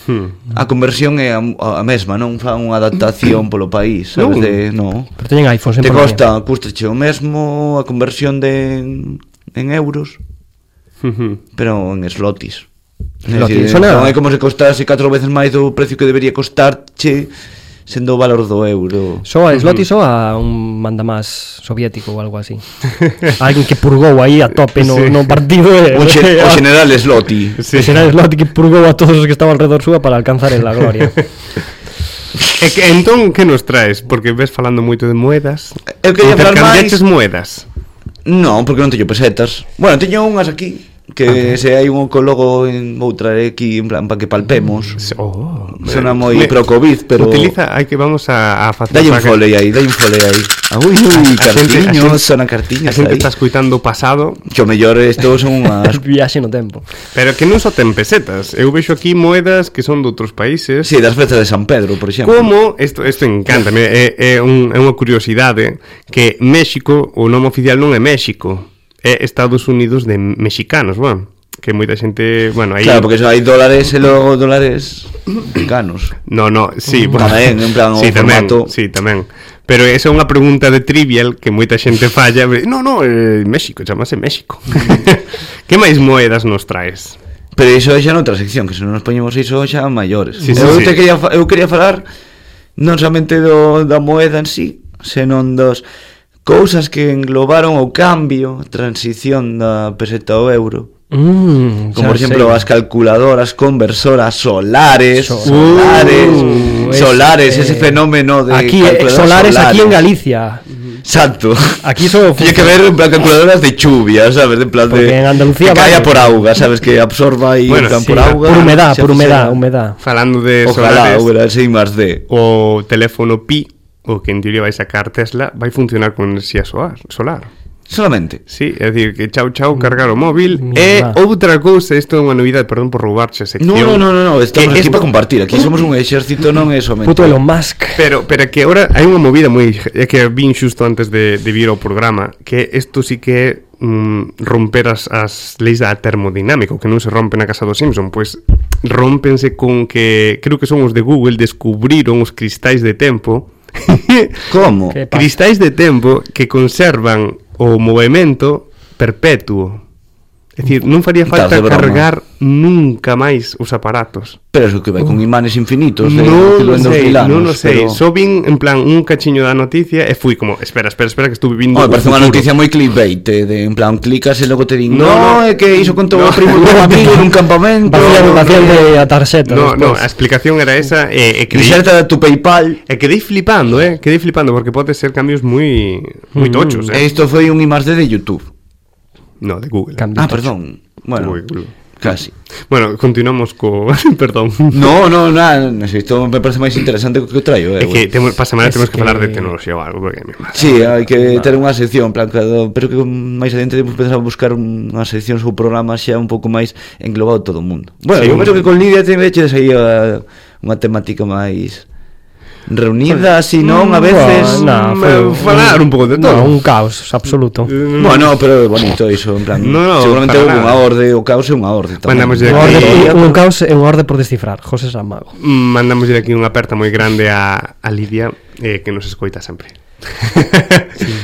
Hmm.
Mm.
A conversión é a, a mesma Non fan unha adaptación polo país Sabes,
Non.
de, no
Pero teñen iPhones en
Te
Polonia.
costa, custa o mesmo A conversión de en euros
Hmm.
Pero en slotis É
Slotis,
dicir,
eso nada.
Non é como se costase 4 veces máis do precio que debería costarche Sendo o valor do euro
Só a Sloty só a un mandamás soviético ou algo así. Alguén que purgou aí a tope no,
Sí.
no partido.
O, xe, o general Sloti
Sí.
O general Sloty que purgou a todos os que estaban alrededor súa para alcanzar en la gloria.
É que entón que nos traes? Porque ves falando moito de moedas.
Eu quería falar máis-
Intercambiaches moedas.
Non, porque non teño pesetas Bueno, teño unhas aquí Que se hai un oncólogo en outra aquí En plan, para que palpemos
Oh,
Sona
me-
moi
me-
pro covid, pero-
Utiliza, hai que vamos a, a facer
Dalle un
para que-
foley aí, dalle un foley aí Ah, Ui, ui,
A xente- a
cartiños,
xente-
sonan
A
cartiños
xente
aí
está escuitando o pasado
Xo mellor estou son unhas
Viaxe no tempo.
Pero que non só ten pesetas Eu vexo aquí moedas que son de outros países
Si, sí, das festas de San Pedro, por exemplo
Como, isto, isto encanta é, é, un, é unha curiosidade Que México, o nome oficial non é México É Estados Unidos de mexicanos, bueno Que moita xente, bueno, aí
Claro, porque só hai dólares e logo dólares mexicanos
No, no, sí,
Mm, Tamén, en plan, o
sí, tamén,
formato.
sí, tamén. Pero esa é unha pregunta de trivial que moita xente falla. No, no, eh, México, chamase México. que máis moedas nos traes?
Pero iso é xa noutra sección, que se non nos poñemos iso xa maiores.
Sí, sí,
eu
sí.
te quería fa- eu quería falar non somente do da moeda en sí, senón dos cousas que englobaron o cambio, a transición da peseta ao euro.
Mm,
Como, por exemplo, as calculadoras, conversoras, solares,
Sol-
solares,
Uh,
solares,
ese-
ese fenómeno de
aquí eh,
calculadoras
solares, aquí en Galicia.
Exacto.
Aquí só
Tiene que ver en plan calculadoras de chuvia, ¿sabes? En plan de.
Porque en Andalucía
Que caiga
vale.
por auga, ¿sabes? Que absorba y
Bueno,
en plan
sí,
por auga.
por humedad,
se
por humedad,
absorba.
humedad.
Falando de
Ojalá
solares,
hubiera ese I más D.
o teléfono Pi, o que en teoría vai sacar Tesla, vai funcionar con enerxía solar. solar.
Solamente.
Sí, é dicir, que chau chau cargar o móvil Eh,
Mira.
E outra cousa, isto é unha novidade, perdón por roubarche a sección
No, no, no, no, no. Estamos
Que es-
aquí para compartir. Aquí somos un ejército, no es solamente.
Puto Elon Musk.
Pero, pero que ahora hai unha movida moi é que vin xusto antes de, de vir ao programa que isto sí que é mm, romper as, as leis da termodinámica o que non se rompen a casa dos Simpson pois rompense con que creo que son os de Google descubriron os cristais de tempo
¿Cómo?
Que- Epa.
cristais de tempo que conservan o movimento perpetuo É dicir, non faría
Estás
falta
de broma.
cargar nunca máis os aparatos
Pero eso que va con imanes infinitos. De,
No,
que lo
no sei,
endofilan,
no, no sei.
pero-
Só vin en plan un cachiño da noticia e fui como, espera, espera, espera que estuve vindo.
Oh, me
o
parece unha
futuro".
noticia moi clickbait eh, de, En plan, clicas e logo te din
No,
No,
no,
no é que iso contou
no.
o primo do amigo nun campamento
Vaciando, vaciando a tarxeta.
No, no,
despois.
a explicación era esa e, e creí,
Inserta tu Paypal
e quedei flipando, eh? Quedei flipando porque pode ser cambios moi moi tochos,
E
eh?
isto foi un I más D de YouTube
No, de Google.
Cambio
Ah,
tocho.
perdón Bueno,
Uy, uy.
casi
Bueno, continuamos co, perdón.
No, no, na, na, si isto me parece máis interesante que o que traio
É
eh,
que temos para semana
Es
temos que,
que-
falar de tecnoloxía ou algo porque mi madre.
Sí, hai que ter unha sección en plan, claro, Pero que máis adiante temos que empezar a buscar unha sección ou programa xa un pouco máis englobado todo o mundo Bueno,
Sí,
eu
un-
penso que con Lidia te veches aí a, unha temática uh, máis reunida, así non, a veces...
na, foi- falar un pouco de todo. Eh,
No, un caos absoluto.
Bueno, pero é bonito iso, en plan,
No, no,
seguramente
para
houve unha
nada.
orde, o caos é unha orde tamén.
Mandamos
Un,
directo
orde,
aquí.
Eh,
un, un caos é unha orde por descifrar, José Saramago.
Mandamos aquí unha aperta moi grande a, a Lidia eh, que nos escoita sempre.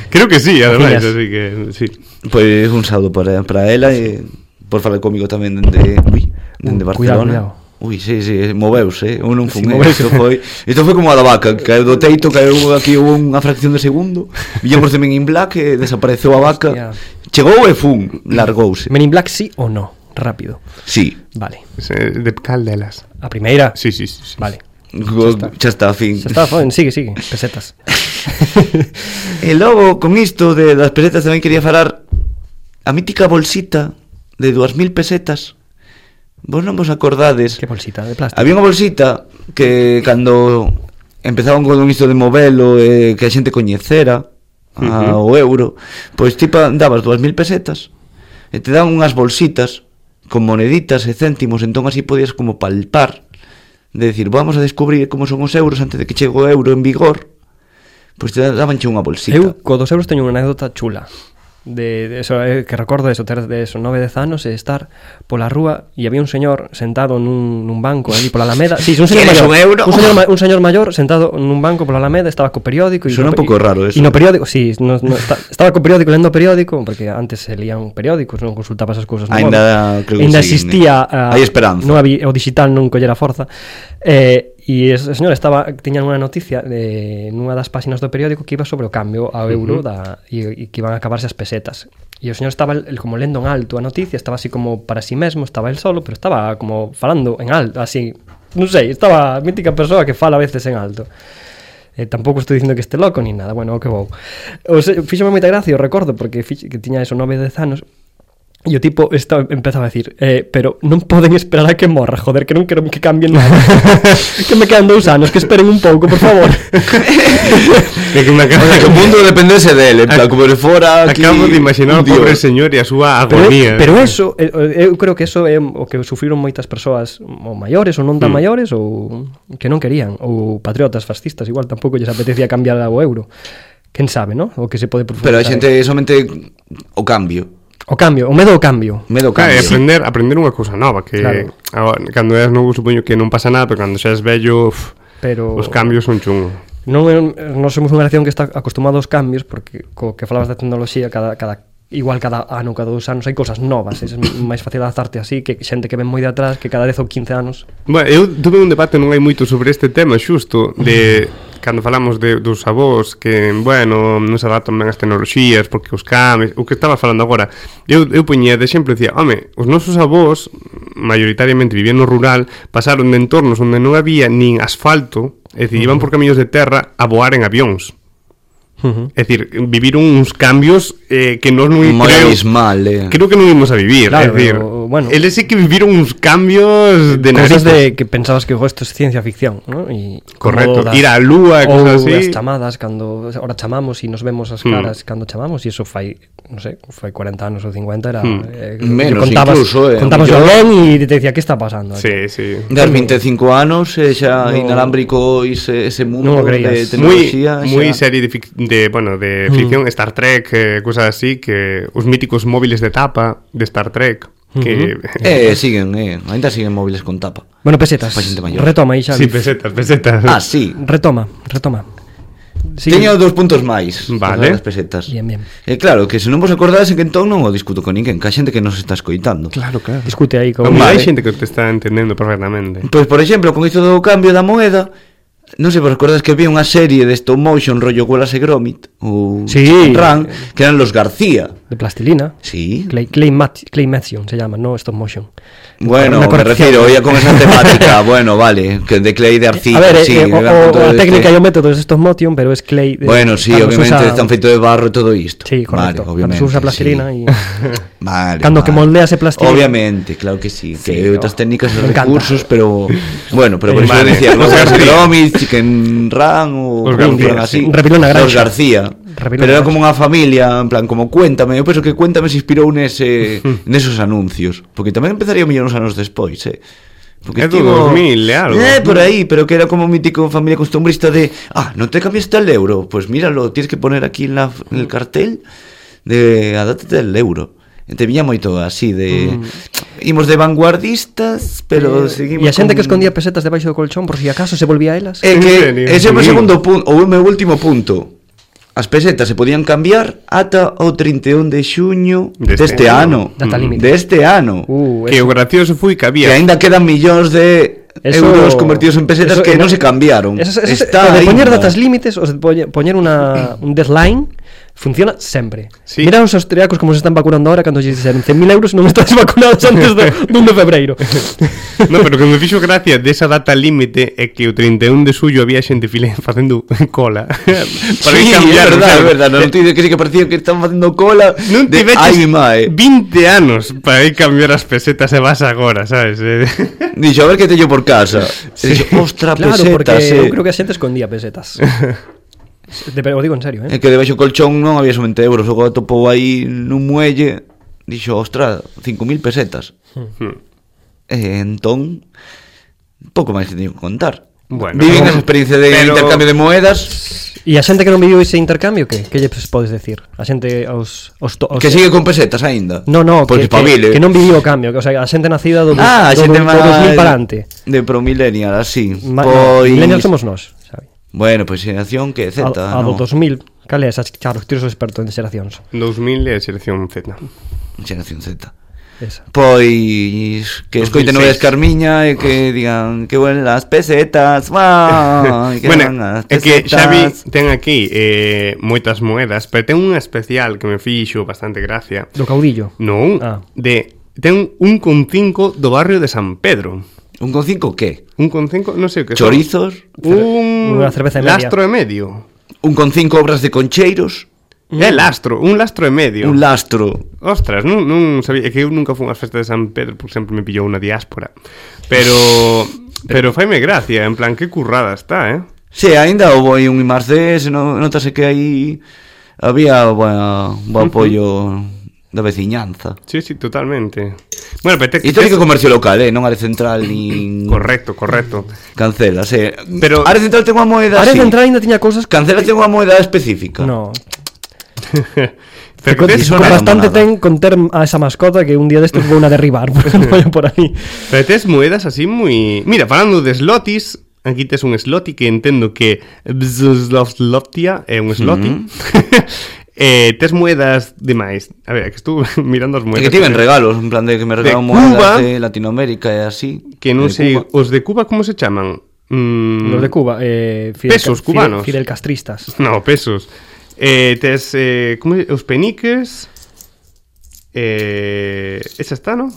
Creo que sí, ademais,
Gracias.
así que sí.
Pois un saúdo para, para ela e por falar comigo tamén dende, ui, dende
Uh, cuidado,
Barcelona. Ui, sí, sí, moveuse, eh? eu non fun, sí,
Sí, moveuse.
isto foi, isto foi como a da vaca, que caiu do teito, caiu aquí hubo unha fracción de segundo, villamos de Men in Black e desapareceu a vaca,
Hostia.
chegou e fun, largouse.
Men in Black sí ou no? Rápido.
Sí,
Vale.
Se- eh, De Caldelas.
A primeira.
Sí, sí, sí. sí.
Vale.
go- xa está, fin.
Xa está, joven, sigue, sigue. Pesetas.
E logo, con isto de das pesetas tamén quería falar a mítica bolsita de 2000 pesetas. Vos non vos acordades?
que bolsita de plástico.
Había unha bolsita que cando empezaban con isto de movelo e que a xente coñecera
Ujú.
ao euro, pois tipa dabas 2000 pesetas e te dan unhas bolsitas con moneditas e céntimos, entón así podías como palpar de decir, vamos a descubrir como son os euros antes de que chegue o euro en vigor. Pois te daban unha bolsita.
Eu co dos euros teño unha anécdota chula de, de eso, eh, que recordo de eso, ter de eso, nove, dez anos e estar pola rúa e había un señor sentado nun, nun banco ali pola Alameda sí, sí, un señor
¿Quieres
maior,
un euro?
Un, señor, ma- un señor maior sentado nun banco pola Alameda estaba co periódico e
Suena un
no-
pouco
e-
raro eso.
e no periódico, sí, no, no, esta, estaba co periódico lendo o periódico porque antes se lían periódicos non consultabas as cousas no
Ainda
móvil.
creo que
Ainda
siguen,
existía
eh.
ah,
Hai esperanza.
non había, o digital non collera forza eh, e ese señor estaba tiñan unha noticia de nunha das páxinas do periódico que iba sobre o cambio ao euro da, e, e que iban a acabarse as pesetas e o señor estaba el, como lendo en alto a noticia estaba así como para si sí mesmo estaba el solo pero estaba como falando en alto así non sei estaba a mítica persoa que fala a veces en alto Eh, tampouco estou dicindo que este loco ni nada, bueno, o que vou. O se, fíxome moita gracia, o recordo, porque fix, que tiña eso 9 10 anos, E o tipo está, empezaba a decir eh, Pero non poden esperar a que morra Joder, que non quero que cambien nada Que me quedan dous anos, que esperen un pouco, por favor
Que, que me acabo,
O sea, que o mundo dependese dele, en plan, como le fora aquí...
acabo de imaginar
un
o pobre
dios.
señor e a súa
Pero,
agonía.
pero eso, eh, eh, eu creo que eso é o que sufriron moitas persoas Ou maiores, ou non
Hmm.
tan maiores Ou que non querían Ou patriotas fascistas, igual tampouco lles apetecía cambiar ao euro Quen sabe, no? O que se pode
Pero
profundizar
hai xente somente o cambio.
O cambio, o medo ao cambio
Medo ao
Claro, e
cambio.
aprender, aprender unha cousa nova que
Claro.
agora, cando eras novo supoño que non pasa nada, pero cando seas vello, uf,
Pero-
os cambios son chungos.
non, é- non somos unha nación que está acostumada aos cambios porque co que falabas da tecnoloxía cada, cada igual cada ano, cada dous anos hai cosas novas é máis fácil adaptarte así que xente que ven moi de atrás que cada 10 ou 15 anos
Bueno, eu tuve un debate non hai moito sobre este tema xusto de
Mm.
cando falamos de, dos avós que, bueno, non se adaptan ben as tecnoloxías porque os cambios, o que estaba falando agora eu, eu poñía de exemplo, dicía home, os nosos avós, maioritariamente vivían no rural, pasaron de entornos onde non había nin asfalto é dicir,
Mm.
iban por camiños de terra a voar en avións É dicir, viviron uns cambios eh, que nós non
Moi
creo-
abismal, eh.
Creo que non imos a vivir, é
Claro,
dicir,
pero, bueno.
eles sí que viviron uns cambios de narices.
cosas de que pensabas que "Jo, isto é ciencia ficción ¿no? e
Correcto,
como
ir á Lúa e
ou
cosas así. Hmm.
das chamadas cando ahora chamamos e nos vemos as caras cando chamamos e iso fai non sei, fai 40 anos ou 50 era
Hmm.
eh,
Menos
contabas,
incluso, eh,
contabas
yo-
yo... ben e te decía que está pasando aquí?"
Sí, sí.
Das 25 anos e xa no, inalámbrico ese, ese mundo
Non o
de
creías.
Muy,
tecnoloxía xa... Eh,
muy serie de, fic- de, bueno, de
Mm.
ficción, Star Trek, eh, cosas así, que os míticos móviles de tapa de Star Trek, que...
Eh, siguen, eh, ainda siguen móviles con tapa
bueno, pesetas,
Pa xente maior.
retoma aí xa
sí, pesetas, pesetas.
Ah, sí,
retoma, retoma
sí. Teño dos puntos máis
Vale.
das pesetas
Bien, bien.
E claro, que se non vos acordades en que entón non o discuto con ninguén Que a xente que nos está escoitando
Claro, claro.
Discute aí con...
Como hai
Vale.
xente que te está entendendo perfectamente.
Pois, por exemplo, con isto do cambio da moeda Non sei, vos acordades que había unha serie de stop motion rollo Wallace e Gromit Ou
Sí.
Chicken Run Que eran los García
De plastilina.
Sí.
Clay, clay, mat- claymation se llama, no stop motion.
Bueno,
Una
me
corrección.
refiero, oía con esa temática Bueno, vale, que de Clay de Arcilla
a ver, eh,
sí,
eh, o,
era
o-
todo
a
este-
técnica e o método es stop motion, pero es clay... eh,
Bueno, sí,
cando se
obviamente
usa-
están feitos de barro e todo isto.
Sí,
Vale,
correcto. Cando
obviamente.
se usa plastilina
sí.
y...
Vale.
Cando que
vale.
moldeas e plastilina.
Obviamente, claro que sí. que
Sí,
hay
no.
otras técnicas y
Me encanta.
recursos, pero. Bueno, pero por eso
Vale.
decía,
Los
los
García.
García, Chicken Run o.
Los García,
como fueran
sí.
así.
Repilo na
Los
granja.
García.
Repilo
pero
na
era
granja.
como unha familia, en plan, como cuéntame. Eu penso que cuéntame se inspirou nese, nesos anuncios. Porque tamén empezaría millóns anos despois, eh.
É do 2000, claro.
Eh, por aí, pero que era como un mítico familia costumbrista de, ah, non te cambiaste el euro, pues míralo, tienes que poner aquí en, la, en el cartel de a data del euro. E Te viña moito así de mm. imos de vanguardistas, pero seguimos
E Eh, a xente
con- Eh,
que escondía pesetas debaixo do colchón por si acaso se volvía a elas.
É
Sí,
que ese é o meu
sí.
segundo punto, o meu último punto. As pesetas se podían cambiar ata o 31 de xuño
Deste
deste ano.
ano.
Mm.
Data límite.
Deste ano.
Uh,
Que
eso-
o gracioso foi que
Que
había
aínda quedan millóns de
Eso-
euros convertidos en pesetas
eso-
que non
no-
se cambiaron.
Eso, eso,
Está
o de
aí,
poñer
no.
datas límites, o de poñe- poñer una, un deadline, funciona sempre.
Sí.
Mira os austriacos como se están vacunando ahora cando lle dixeron 100.000 euros non estás vacunados antes do, do 1 de febreiro.
No, pero que me fixo gracia desa data límite é que o 31 de suyo había xente file facendo cola para
sí,
ir
é
cambiar,
verdad, é
claro.
verdad, non tive que sí que parecía que estaban facendo cola
Non
de
tiveches
ai mi mae.
20 anos para ir cambiar as pesetas e vas agora, sabes? Eh,
Dixo, a ver que teño por casa. Sí. Dixo, ostra eh".
claro,
peseta,
porque
sí.
eu creo que a xente escondía pesetas. De, pero o digo en serio,
É
eh?
que debaixo do colchón non había somente euros O gato topou aí nun muelle Dixo, ostra, 5.000 pesetas E entón Pouco máis que teño que contar
Bueno,
Vivín esa experiencia de
pero-
intercambio de moedas
E a xente que non viviu ese intercambio, que que lle pes- podes decir? A xente aos aos, to- aos
Que sigue con pesetas aínda
No, no,
Pois
que, que,
espabile.
que non viviu o cambio, que, o sea, a xente nacida do,
Ah, xe
do, do, do,
tema
2000 para ante.
De promilenial, así
Ma-
Pois
Millennials somos nós, sabe?
Bueno, pois xeración que Z,
a, a
no.
do 2000 Cal é esa, claro, tiro os expertos en xeracións
2000 e a selección Z.
Xeración Z
Esa
Pois que
2006.
escoiten novedades Carmiña e que digan que buen las pesetas. Uau, que
bueno,
van as
é que Xavi
pesetas.
ten aquí eh, moitas moedas, pero ten unha especial que me fixo bastante gracia.
Do caudillo
Non,
Ah.
de ten un con cinco do barrio de San Pedro.
un con cinco que?
Un con cinco, non sei o que son.
Chorizos,
Un
Unha cerveza e media.
lastro e medio.
un con cinco obras de concheiros,
É lastro, un lastro e medio.
un lastro.
Ostras, non, non sabía é que eu nunca fui ás festas de San Pedro porque sempre me pillou unha diáspora. Pero pero faime gracia, en plan que currada está, eh?
Se aínda houve aí un imarcés, no, notase que aí había bueno, bo apoio da veciñanza.
Sí, sí, totalmente. Bueno, pero te,
Histórico comercio local, eh, non área central nin
correcto, correcto.
Cancela, se.
Pero-
área central ten unha moeda
Ahora
así.
de entrar ainda tiña cousas que
Cancela ten unha moeda específica.
No,
Pero
con,
que tes,
son
con
nada,
bastante
monada.
ten con ter a esa mascota que un día destes vou a derribar por, por aí.
pero tes moedas así moi... Mira, falando de slotis, aquí tes un sloti que entendo que Bzoslovslotia é un sloti. eh, tes moedas demais. A ver, é que estuve mirando as
E
moedas.
que tiven regalos, en plan de que me regalaron moedas
Cuba.
de Latinoamérica e así.
Que non
de
sei,
Cuba.
os de Cuba como se chaman? Mm,
Los de Cuba eh, Fidel,
Pesos
Fidel-
cubanos.
Fidel Castristas
No, pesos. Eh, tes, eh, como é? os peniques. Eh, esa está, ¿no?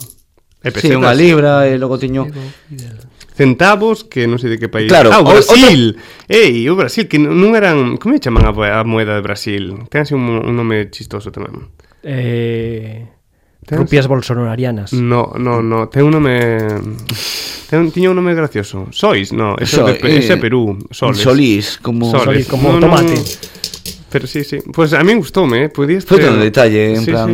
Eh, E
Sí, unha libra e logo tiño
Centavos, que non sei de que país.
Claro,
ah, o
o-
Brasil. Ei, o Brasil, que non- non eran... Como me chaman a, moe- a moeda de Brasil? Ten así un, un nome chistoso tamén.
eh,
Tens?
Rupias bolsonarianas
No, no, no, ten un nome... Ten, tiña un nome gracioso. Sois, no, eso
Soy,
é de Pe- ese é
eh,
Perú. Soles.
solís, como
Soles.
Solís, como tomate.
Pero sí, sí. Pues a mí gustoume, eh. Podías
Foi todo un detalle, en plan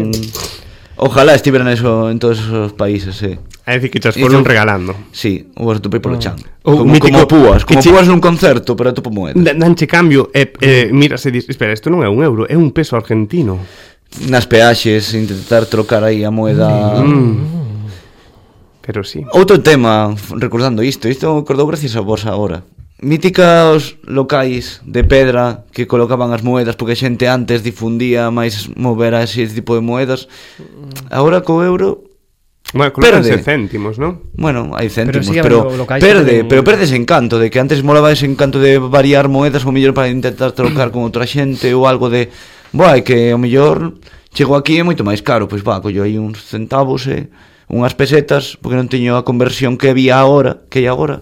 Ojalá estiveran eso en todos esos países, eh.
É dicir, que chas
Hizo-
foron regalando.
Sí, o vas topei polo chan.
O
como,
mítico-
como púas,
que
como
che-
púas nun concerto, pero topo moeda.
Da- Danche cambio e, e mira se dis, espera, isto non é un euro, é un peso argentino.
Nas peaxes intentar trocar aí a moeda.
Mm. Pero sí.
Outro tema, f- recordando isto, isto acordou gracias a vos agora. Mítica os locais de pedra que colocaban as moedas porque a xente antes difundía máis mover a ese tipo de moedas. Agora co euro,
Bueno, colócanse
Perde.
céntimos, non?
bueno, hai céntimos,
sigue
pero,
habendo locais que
perde,
teñen-
pero perde ese encanto de que antes molaba ese encanto de variar moedas ou mellor para intentar trocar con outra xente ou algo de, boa, é que o mellor chego aquí é moito máis caro, pois va, collo aí uns centavos e unhas pesetas, porque non teño a conversión que había agora, que hai agora.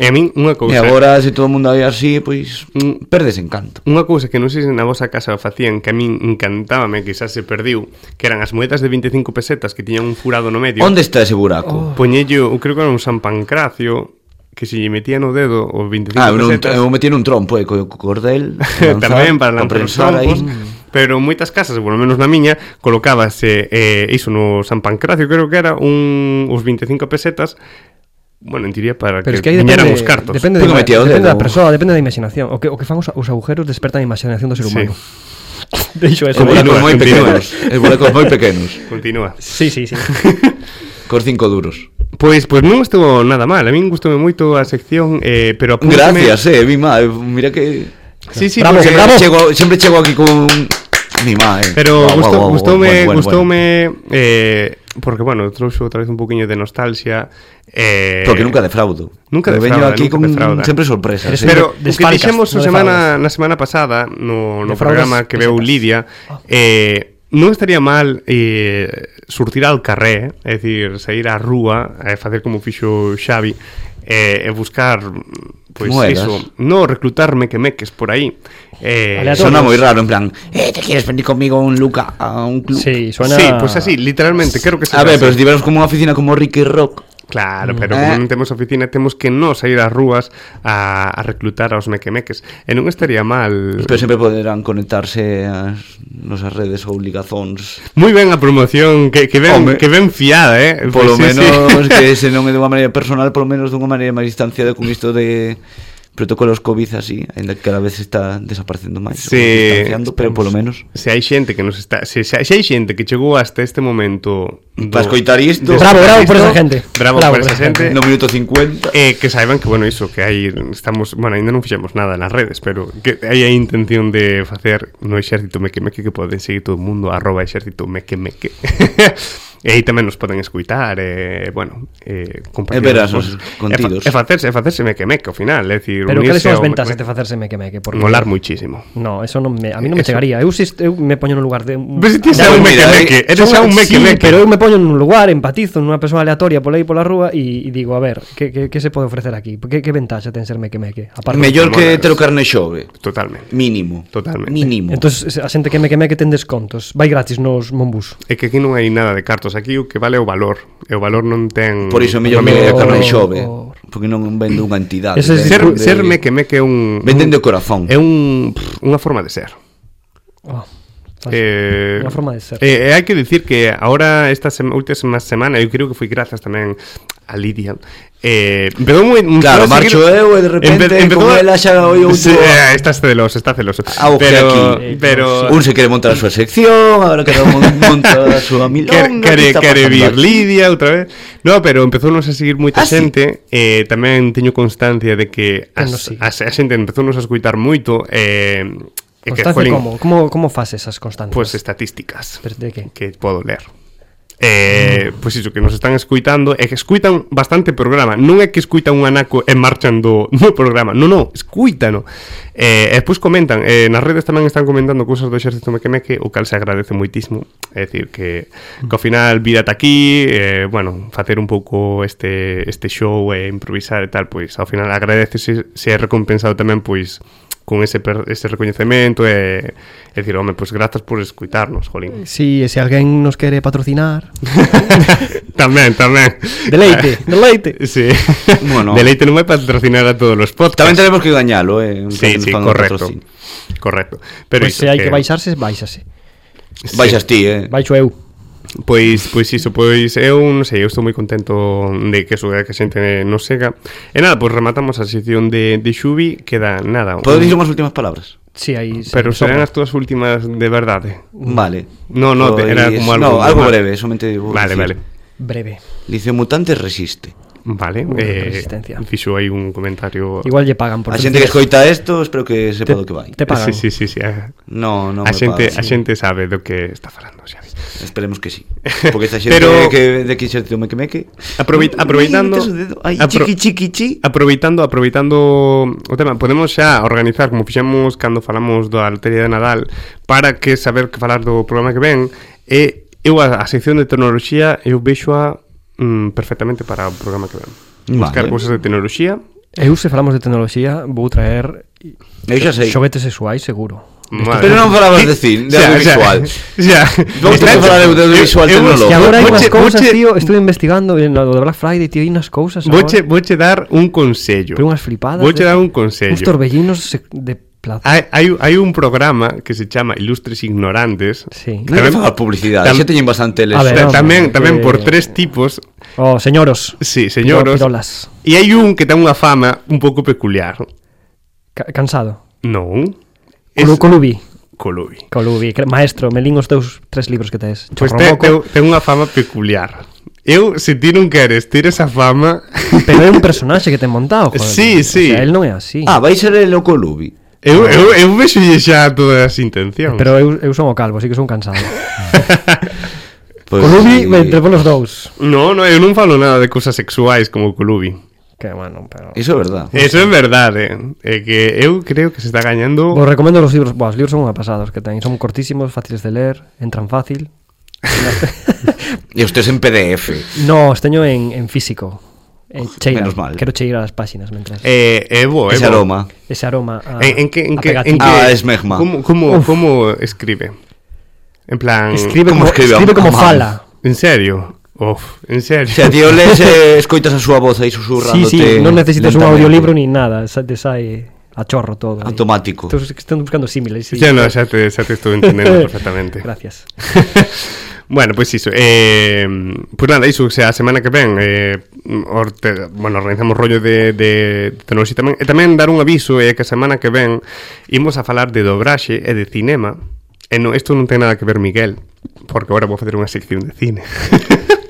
E a min unha
E
cousa.
agora, se todo o mundo vai así, pois
Mm.
perdes encanto.
Unha cousa que non sei se na vosa casa o facían que a min encantábame, quizás se perdiu, que eran as moedas de 25 pesetas que tiñan un furado no medio.
Onde está ese buraco?
Poñello, eu creo que era un San Pancracio que se lle metía no dedo os
Oh,
25
Ah, eu, non,
pesetas.
eu metí nun trompo, eh, co co cordel,
tamén para
lanzar,
lanzar os
prensar aí.
trompos
Mm.
pero en moitas casas, polo menos na miña colocábase, eh, iso no San Pancracio creo que era, un, os 25 pesetas bueno, en teoría para que,
Pero es que aí
viñeran os
depende,
cartos.
depende, de,
Porque metía o
depende
dedo.
da persoa, depende da imaginación. O que, o que fan os, os agujeros desperta a imaginación do ser
Sí.
humano. Deixo
E
eso.
Como-
bulecos
Continúa,
moi
continúa.
pequenos. E bulecos moi pequenos.
Continúa.
Sí, sí, sí.
Cos cinco duros.
Pois pois non estuvo nada mal, a min gustoume moito a sección, eh, pero apúntame-
Gracias, eh, mi má. eh, Mira que...
Sí, sí,
Bravo,
porque-
bravo.
Chego, sempre chego aquí con... Mi má, eh.
Pero
Guau,
gustou,
guau, guau,
gustoume,
bueno, bueno,
gustoume eh porque bueno, trouxo outra vez un poquinho de nostalgia eh
bueno. Porque nunca defraudo.
Nunca
Eu Veño
defrauda,
aquí
nunca
con
defrauda.
sempre sorpresas.
Eres
eh.
Pero o que
Desfalcas,
dixemos a
no
semana, na semana pasada no, no
Defraudas,
programa que veu
pesetas.
Lidia eh, non estaría mal eh, surtir al carré eh, é dicir, sair á rúa e eh, facer como fixo Xavi eh, e buscar pois
Moedas.
iso, no reclutar mequemeques por aí eh,
Aleatorio.
Sona moi raro, en plan, eh, te quieres venir conmigo a un Luca, a un club.
Sí, suena
Sí, pois pues así, literalmente, creo que se
A ver,
así.
pero se tiveras como unha oficina como Ricky Rock,
Claro, pero
Eh.
como non temos oficina Temos que non sair ás rúas a, a reclutar aos mequemeques E non estaría mal
pero sempre poderán pues conectarse ás nosas redes ou ligazóns.
Moi ben a promoción Que, que, ben,
Home.
que ben fiada, eh
Polo
Pois sí,
menos
sí.
que se non é dunha maneira personal, polo menos dunha maneira máis distanciada con isto de protocolos Covid así, aínda que cada vez está desaparecendo máis,
Sí,
ou distanciando, pero polo menos.
Se hai xente que nos está Se, se, se hai xente que chegou hasta este momento do-
Pa escoitar isto.
de
Bravo, bravo por esa
isto,
gente.
Bravo, por esa gente
No minuto 50.
Eh, que saiban que, bueno, iso, que hai estamos, bueno, ainda non fixemos nada nas redes, pero que hai a intención de facer no exército mequemeque que poden seguir todo o mundo arroba exército mequemeque. e aí tamén nos poden escuitar, eh, bueno, eh, compartir
E ver
as
as nosos
cousas.
contidos.
E, fa, e facerse, e facerse mequemeque ao final, é dicir,
Pero cales
unirse
son as
ao
ventaxas de
mequemeque.
facerse meque-meque? Porque...
Molar muchísimo.
No, eso non me, a mí non me
Eso.
chegaría. Eu, si, eu me poño no lugar de... un-
Pero si ti
de
xa un
alguén-
mira,
mequemeque, eres xa un
sí,
mequemeque.
pero eu me poño nun lugar, empatizo nunha persoa aleatoria pola aí pola rúa e, e digo, a ver, que, que, que se pode ofrecer aquí? Que, que ventaxa ten ser meque-meque? Aparte
Mellor que
hormonas.
tero carne xove,
Totalmente.
mínimo.
Totalmente.
Mínimo.
Entón, a xente que meque-meque ten descontos. Vai gratis nos monbús.
É que aquí non hai nada de cartos, aquí o que vale é o valor. E o valor non ten
Por iso é mellor
non
que
vende
a
cartos.
carne
Oh,
xove,
oh.
porque non vende unha entidade.
Ese
vende
es-
Ser,
de-
ser mequemeque é un...
Venden do eh, corazón.
É un, pff, unha forma de ser.
Oh, sabes?
Eh,
Unha forma de ser.
Eh, eh, hai que dicir que ahora esta sema, última semana, eu creo que foi grazas tamén a Lidia. Eh, empezou moi empezou
Claro,
a
marcho eu e de repente con ela xa oi outro-
Sí, eh, está celoso, está celoso.
Ah, o que
pero
aquí.
pero
Un se quere montar a súa sección, ahora cada un monta a súa milonga. que
Quere,
está
quere
pasando
vir
aquí?
Lidia outra vez No, pero empezounos a seguir moita
Ah, sí?
xente eh, Tamén teño constancia de que
Que nos
as,
sigue.
as, a xente empezounos a escuitar moito eh, e que
Constancia
jolín,
como? Como, como fas esas constancias?
Pois estatísticas
Pero de que?
que podo ler. Eh, pois iso que nos están escuitando é que escuitan bastante programa non é que escuitan un anaco e marchan do, do programa, non, non, escuitano eh, e pois comentan eh, nas redes tamén están comentando cousas do exército mequemeque o cal se agradece moitísimo é dicir que, que ao final vir ata aquí eh, bueno, facer un pouco este, este show e improvisar e tal, pois ao final agradece se, se é recompensado tamén pois con ese, per, ese recoñecemento e, e dicir, home, pois grazas por escuitarnos, jolín
Si, sí, se alguén nos quere patrocinar...
tamén, tamén.
Deleite, deleite.
Sí.
Bueno.
Deleite non vai patrocinar a todos os podcasts.
Tamén tenemos que gañalo, eh. en
Sí,
plan,
sí,
fan
correcto.
patrocinio.
Correcto. Pero
Pois
iso,
se hai Pues que baixarse, baixase.
sí. Pues,
Baixas ti, eh.
Baixo eu.
Pois, pois iso, pois eu non sei, eu estou moi contento de que eso que a xente nos sega. E nada, pois rematamos a sección de, de Xubi, queda nada. un-
Podo dicir unhas últimas palabras?
Si, aí... se
Pero
me sopra.
serán as túas últimas de verdade.
Vale.
Mm.
Pues,
No, no, te- era como algo
No, algo
normal.
breve, somente vou
Vale,
dicir.
vale.
Breve.
Liceo Mutante resiste.
Vale,
Unha
eh,
resistencia.
fixo aí un comentario...
Igual lle pagan por...
A xente que
terceras.
escoita isto, espero que sepa
Te-
do que vai.
Te pagan.
Sí, sí, sí, sí. A,
No, non
a
me
xente, a
pagan.
xente sabe do que está falando, xa ves.
Esperemos que sí. Porque esta xente
Pero-
que de que xerte meque meque.
Aproveit- aproveitando-
Mete o dedo. Ai,
apro- Ah,
chiqui chiqui chi.
Aproveitando, aproveitando o tema, podemos xa organizar como fixemos cando falamos da lotería de Nadal para que saber que falar do programa que ven e eu a, a sección de tecnoloxía eu vexo a mm, perfectamente para o programa que ven. Buscar
Vale.
cousas de tecnoloxía.
Eu, se falamos de tecnoloxía, vou traer
Eu xa sei.
xoguetes sexuais, seguro.
Madre.
Pero non falabas de cine, de
Xa,
audiovisual.
Xa.
Vamos a falar de audiovisual
E
tecnológico.
agora hai unhas
Voche-
cousas,
voche-
tío, estuve investigando en lo de Black Friday, tío, hai unhas cousas agora.
Voche, voche dar un consello.
Pero unhas flipadas.
Voche
de-
dar un consello. Ah.
Uns torbellinos se- de plata.
Hai, hai, hai un programa que se chama Ilustres Ignorantes
Sí.
Non hai que falar publicidade,
Tam-
xa teñen bastante les.
A ver,
Ta-
vamos,
tamén
que-
tamén por tres tipos
Oh, señoros.
Sí, señoros.
Pirolas.
E hai un que ten unha fama un pouco peculiar.
Ca- cansado.
Non. Es
Colu, Colubi.
Colubi.
Colubi, cre- maestro, me lin os teus tres libros que tes.
Pois ten,
Chorromoco,
ten, ten unha fama peculiar. Eu, se ti non queres ter esa fama...
Pero é un personaxe que ten montado, joder.
Sí, sí.
O sea, él non é así.
Ah, vai ser el loco Lubi.
Eu, eu, eu vexo xa todas as intencións.
Pero eu, eu son o calvo, así que son cansado.
Pues,
Colubi,
sí.
entre polos dous.
No, no, eu non falo nada de cousas sexuais como o Colubi.
Que bueno, pero...
Eso é verdad.
Eso é verdade. eh. É que eu creo que se está gañando...
Vos recomendo los libros, Buah, os libros son unha pasada os que ten, son cortísimos, fáciles de ler, entran fácil.
E os tes en PDF.
No, os teño en, en físico. Eh, cheira,
menos mal.
Quero cheirar as páxinas mentras.
Eh, é bo, é
Ese
bo.
aroma.
Ese aroma a,
En, en que, en
a
que, en
pegatina.
que,
Ah, es megma.
Como, como,
Uf.
como escribe? En plan...
escribe
Ah, ¿Cómo
como,
escribe?
escribe, como
Ah,
fala.
En serio? Uf, en serio.
O sea, tío, lees, eh, escoitas a súa voz aí
Sí,
susurrándote.
sí, non necesitas un
lentamente.
audiolibro ni nada, sa- te sai a chorro todo. ahí.
Automático.
Estos que están buscando símiles. sí.
Ya no, xa te, xa te estou entendendo perfectamente.
Gracias.
Bueno, pois iso eh, Pois nada, iso, o sea, a semana que ven eh, orte, Bueno, organizamos rollo de, de, de tecnoloxía tamén E tamén dar un aviso é eh, que a semana que ven Imos a falar de dobraxe e de cinema E no, isto non ten nada que ver Miguel Porque agora vou facer unha sección de cine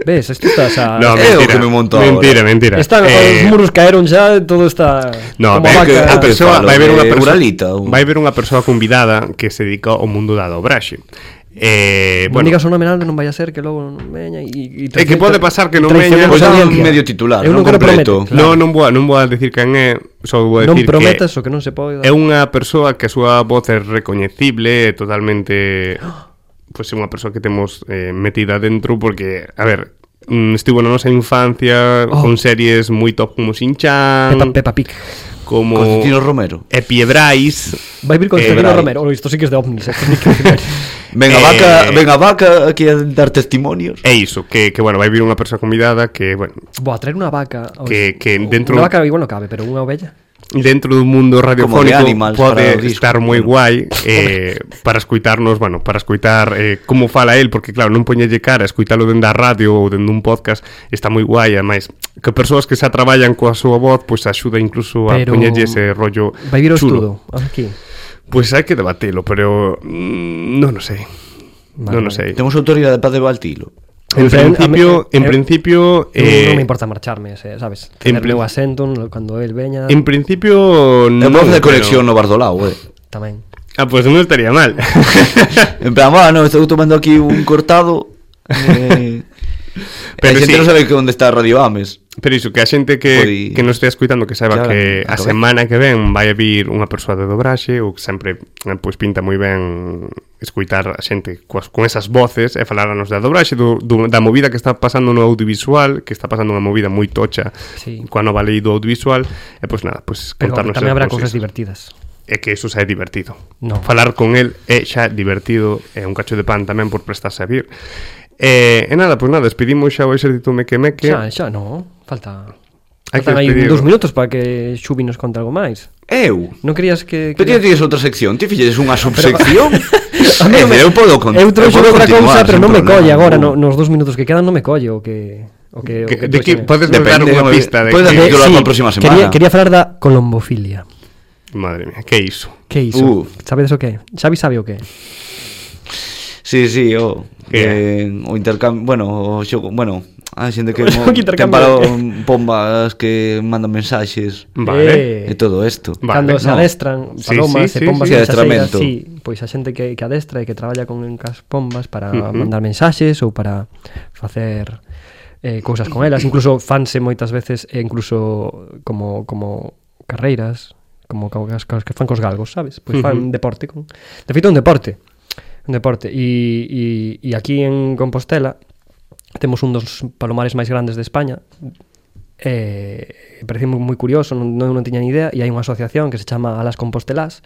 Ves, isto estás a...
No,
é o que me monto
mentira,
ahora.
mentira
Están,
Eh,
os muros caeron xa, todo está
No,
como
ve
vaca.
que a
Ah,
persoa
falo
vai ver
de
unha persoa,
Uralita, un-
vai ver unha persoa convidada que se dedica ao mundo da dobraxe. Eh,
Non
bueno,
digas o nome nada, non vai a ser que logo non veña e, e
É que pode pasar que non veña.
traicionemos
Pois dá
a
un
audiencia.
medio titular,
Eu
non
quero
completo.
prometer,
no,
claro.
non vou, a- non vou a decir quen é, só vou a
non
decir que
prometas o que non se pode
é unha persoa que a súa voz é recoñecible, é totalmente pois é unha persoa que temos eh, metida dentro porque, a ver, mm, estivo na nosa infancia
Oh.
con series moi top como Shin-Chan,
Peppa, Peppa Pig
como
Constantino Romero.
E Piebrais.
Vai vir con
Eh,
Celino
Brai.
Romero oh, Isto sí que es de ovnis eh, ni que-
Ven
Eh,
a vaca, ven a vaca aquí a dar testimonios.
É iso, que, que bueno, vai vir unha persoa convidada que, bueno,
Boa, traer unha vaca oh,
Que- que
oh,
dentro-
Unha vaca igual non cabe, pero unha ovella
dentro do mundo radiofónico
Como de Animals para
pode
o disco,
estar moi guai eh, para escuitarnos, bueno, para escuitar eh, como fala el, porque claro, non poñelle cara escuitalo dende a radio ou dende un podcast está moi guai, ademais que persoas que xa traballan coa súa voz pois axuda incluso a
Pero-
poñerlle ese rollo
Vai vir o
chulo.
estudo Aquí
Pois hai que debatelo, pero mm, non o sei.
Vale,
non o sei.
vale.
Temos autoridade para debatilo.
En
Pero a mí-
principio,
a mí-
en principio
eh, Non
eh,
me importa marcharme, se- sabes
en
Tener
prin-
meu asento no- Cando el veña
En principio
É
non,
voz de
pero-
conexión no Bardolao, eh.
Tamén
Ah, pois pues non estaría mal.
En plan, bueno, estou tomando aquí un cortado. Eh,
Pero
Pero a xente
sí.
non sabe que onde está Radio Ames.
Pero iso, que a xente que,
Pois-
que nos estea escuitando que saiba
Claro,
que a
acabei.
semana que ven vai a vir unha persoa de dobraxe ou que sempre eh, pois pinta moi ben escuitar a xente coas, con esas voces e falarnos da dobraxe do, do, da movida que está pasando no audiovisual que está pasando unha movida moi tocha
Sí.
coa nova lei do audiovisual e pois nada, pois
Pero
contarnos
tamén
esas
habrá
cousas.
cousas divertidas
é que eso xa é divertido.
No.
Falar con el é xa divertido, é un cacho de pan tamén por prestarse a vir. Eh, e nada, pois nada, despedimos xa o exército meque meque.
Xa, xa, no Falta
Hai que
Faltan aí
despedir.
dous minutos para que Xubi nos conte algo máis
Eu.
Non querías que...
Pero ti
que...
non tiñes outra sección, ti fixeres unha subsección.
A mí
Eh,
non me-
eu podo contar.
Eu trouxe outra cousa, pero non me colle agora, no, nos dos minutos que quedan non me colle o que... O que, o
Que,
que
de que
trouxen.
podes nos dar
Depende,
unha
a ver,
pista de
podes
que...
dar-
Eh,
Yo lo hago a próxima semana.
Quería, quería falar da colombofilia.
Madre mía, que iso?
Que iso?
Uh.
Sabedes o que? Xavi sabe o que?
Sí, sí, o
Que?
eh, o intercambio, bueno, o xogo, bueno, a xente que
O
mo,
xogo que
ten
intercambio.
para bombas que mandan mensaxes
Vale.
Eh,
e todo isto.
Vale,
Cando se
no.
adestran
Sí,
palomas
sí,
e
sí,
pombas
sí.
en
Sí, adestramento.
chaseiras, sí, pois a xente que, que adestra e que traballa con cas pombas para
Ujú.
mandar mensaxes ou para facer eh, cousas con elas, incluso fanse moitas veces e incluso como como carreiras, como cousas cousas que fan cos galgos, sabes? Pois
Mm-hmm.
fan deporte con. De feito é un deporte. Un deporte e e e aquí en Compostela temos un dos palomares máis grandes de España eh, parece moi, moi curioso non, non, non tiña ni idea e hai unha asociación que se chama Alas Compostelás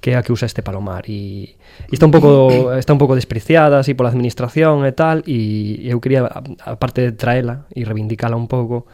que é a que usa este palomar e, e está un pouco está un pouco despreciada así pola administración e tal e eu quería a- aparte de traela e reivindicala un pouco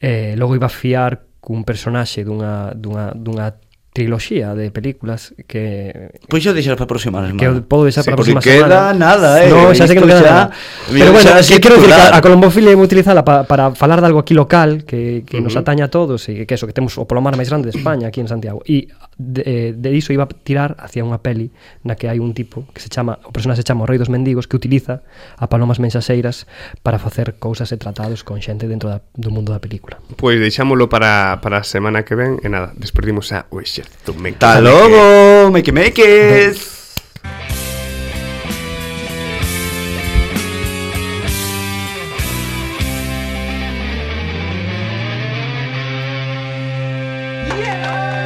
eh, logo iba a fiar cun personaxe dunha, dunha, dunha triloxía de películas que
Pois xa deixar para a próxima semana.
Que o podo deixar para a
Porque
próxima
queda
semana.
nada, eh.
No, xa sei que non
Isto
queda
xa-
nada.
Mira,
Pero bueno,
xa
que
sin
quero decir que
titular.
a colombofilia é utilizala pa, para falar de algo aquí local que, que nos ataña a todos e que eso, que temos o palomar máis grande de España aquí en Santiago. E de, eh, de iso iba a tirar hacia unha peli na que hai un tipo que se chama, o personaxe se chama o Rei dos Mendigos que utiliza a palomas mensaxeiras para facer cousas e tratados con xente dentro da, do mundo da película.
Pois deixámolo Pues para, para a semana que ven E nada, despedimos a o exército
Hasta logo, make makes.
Yeah!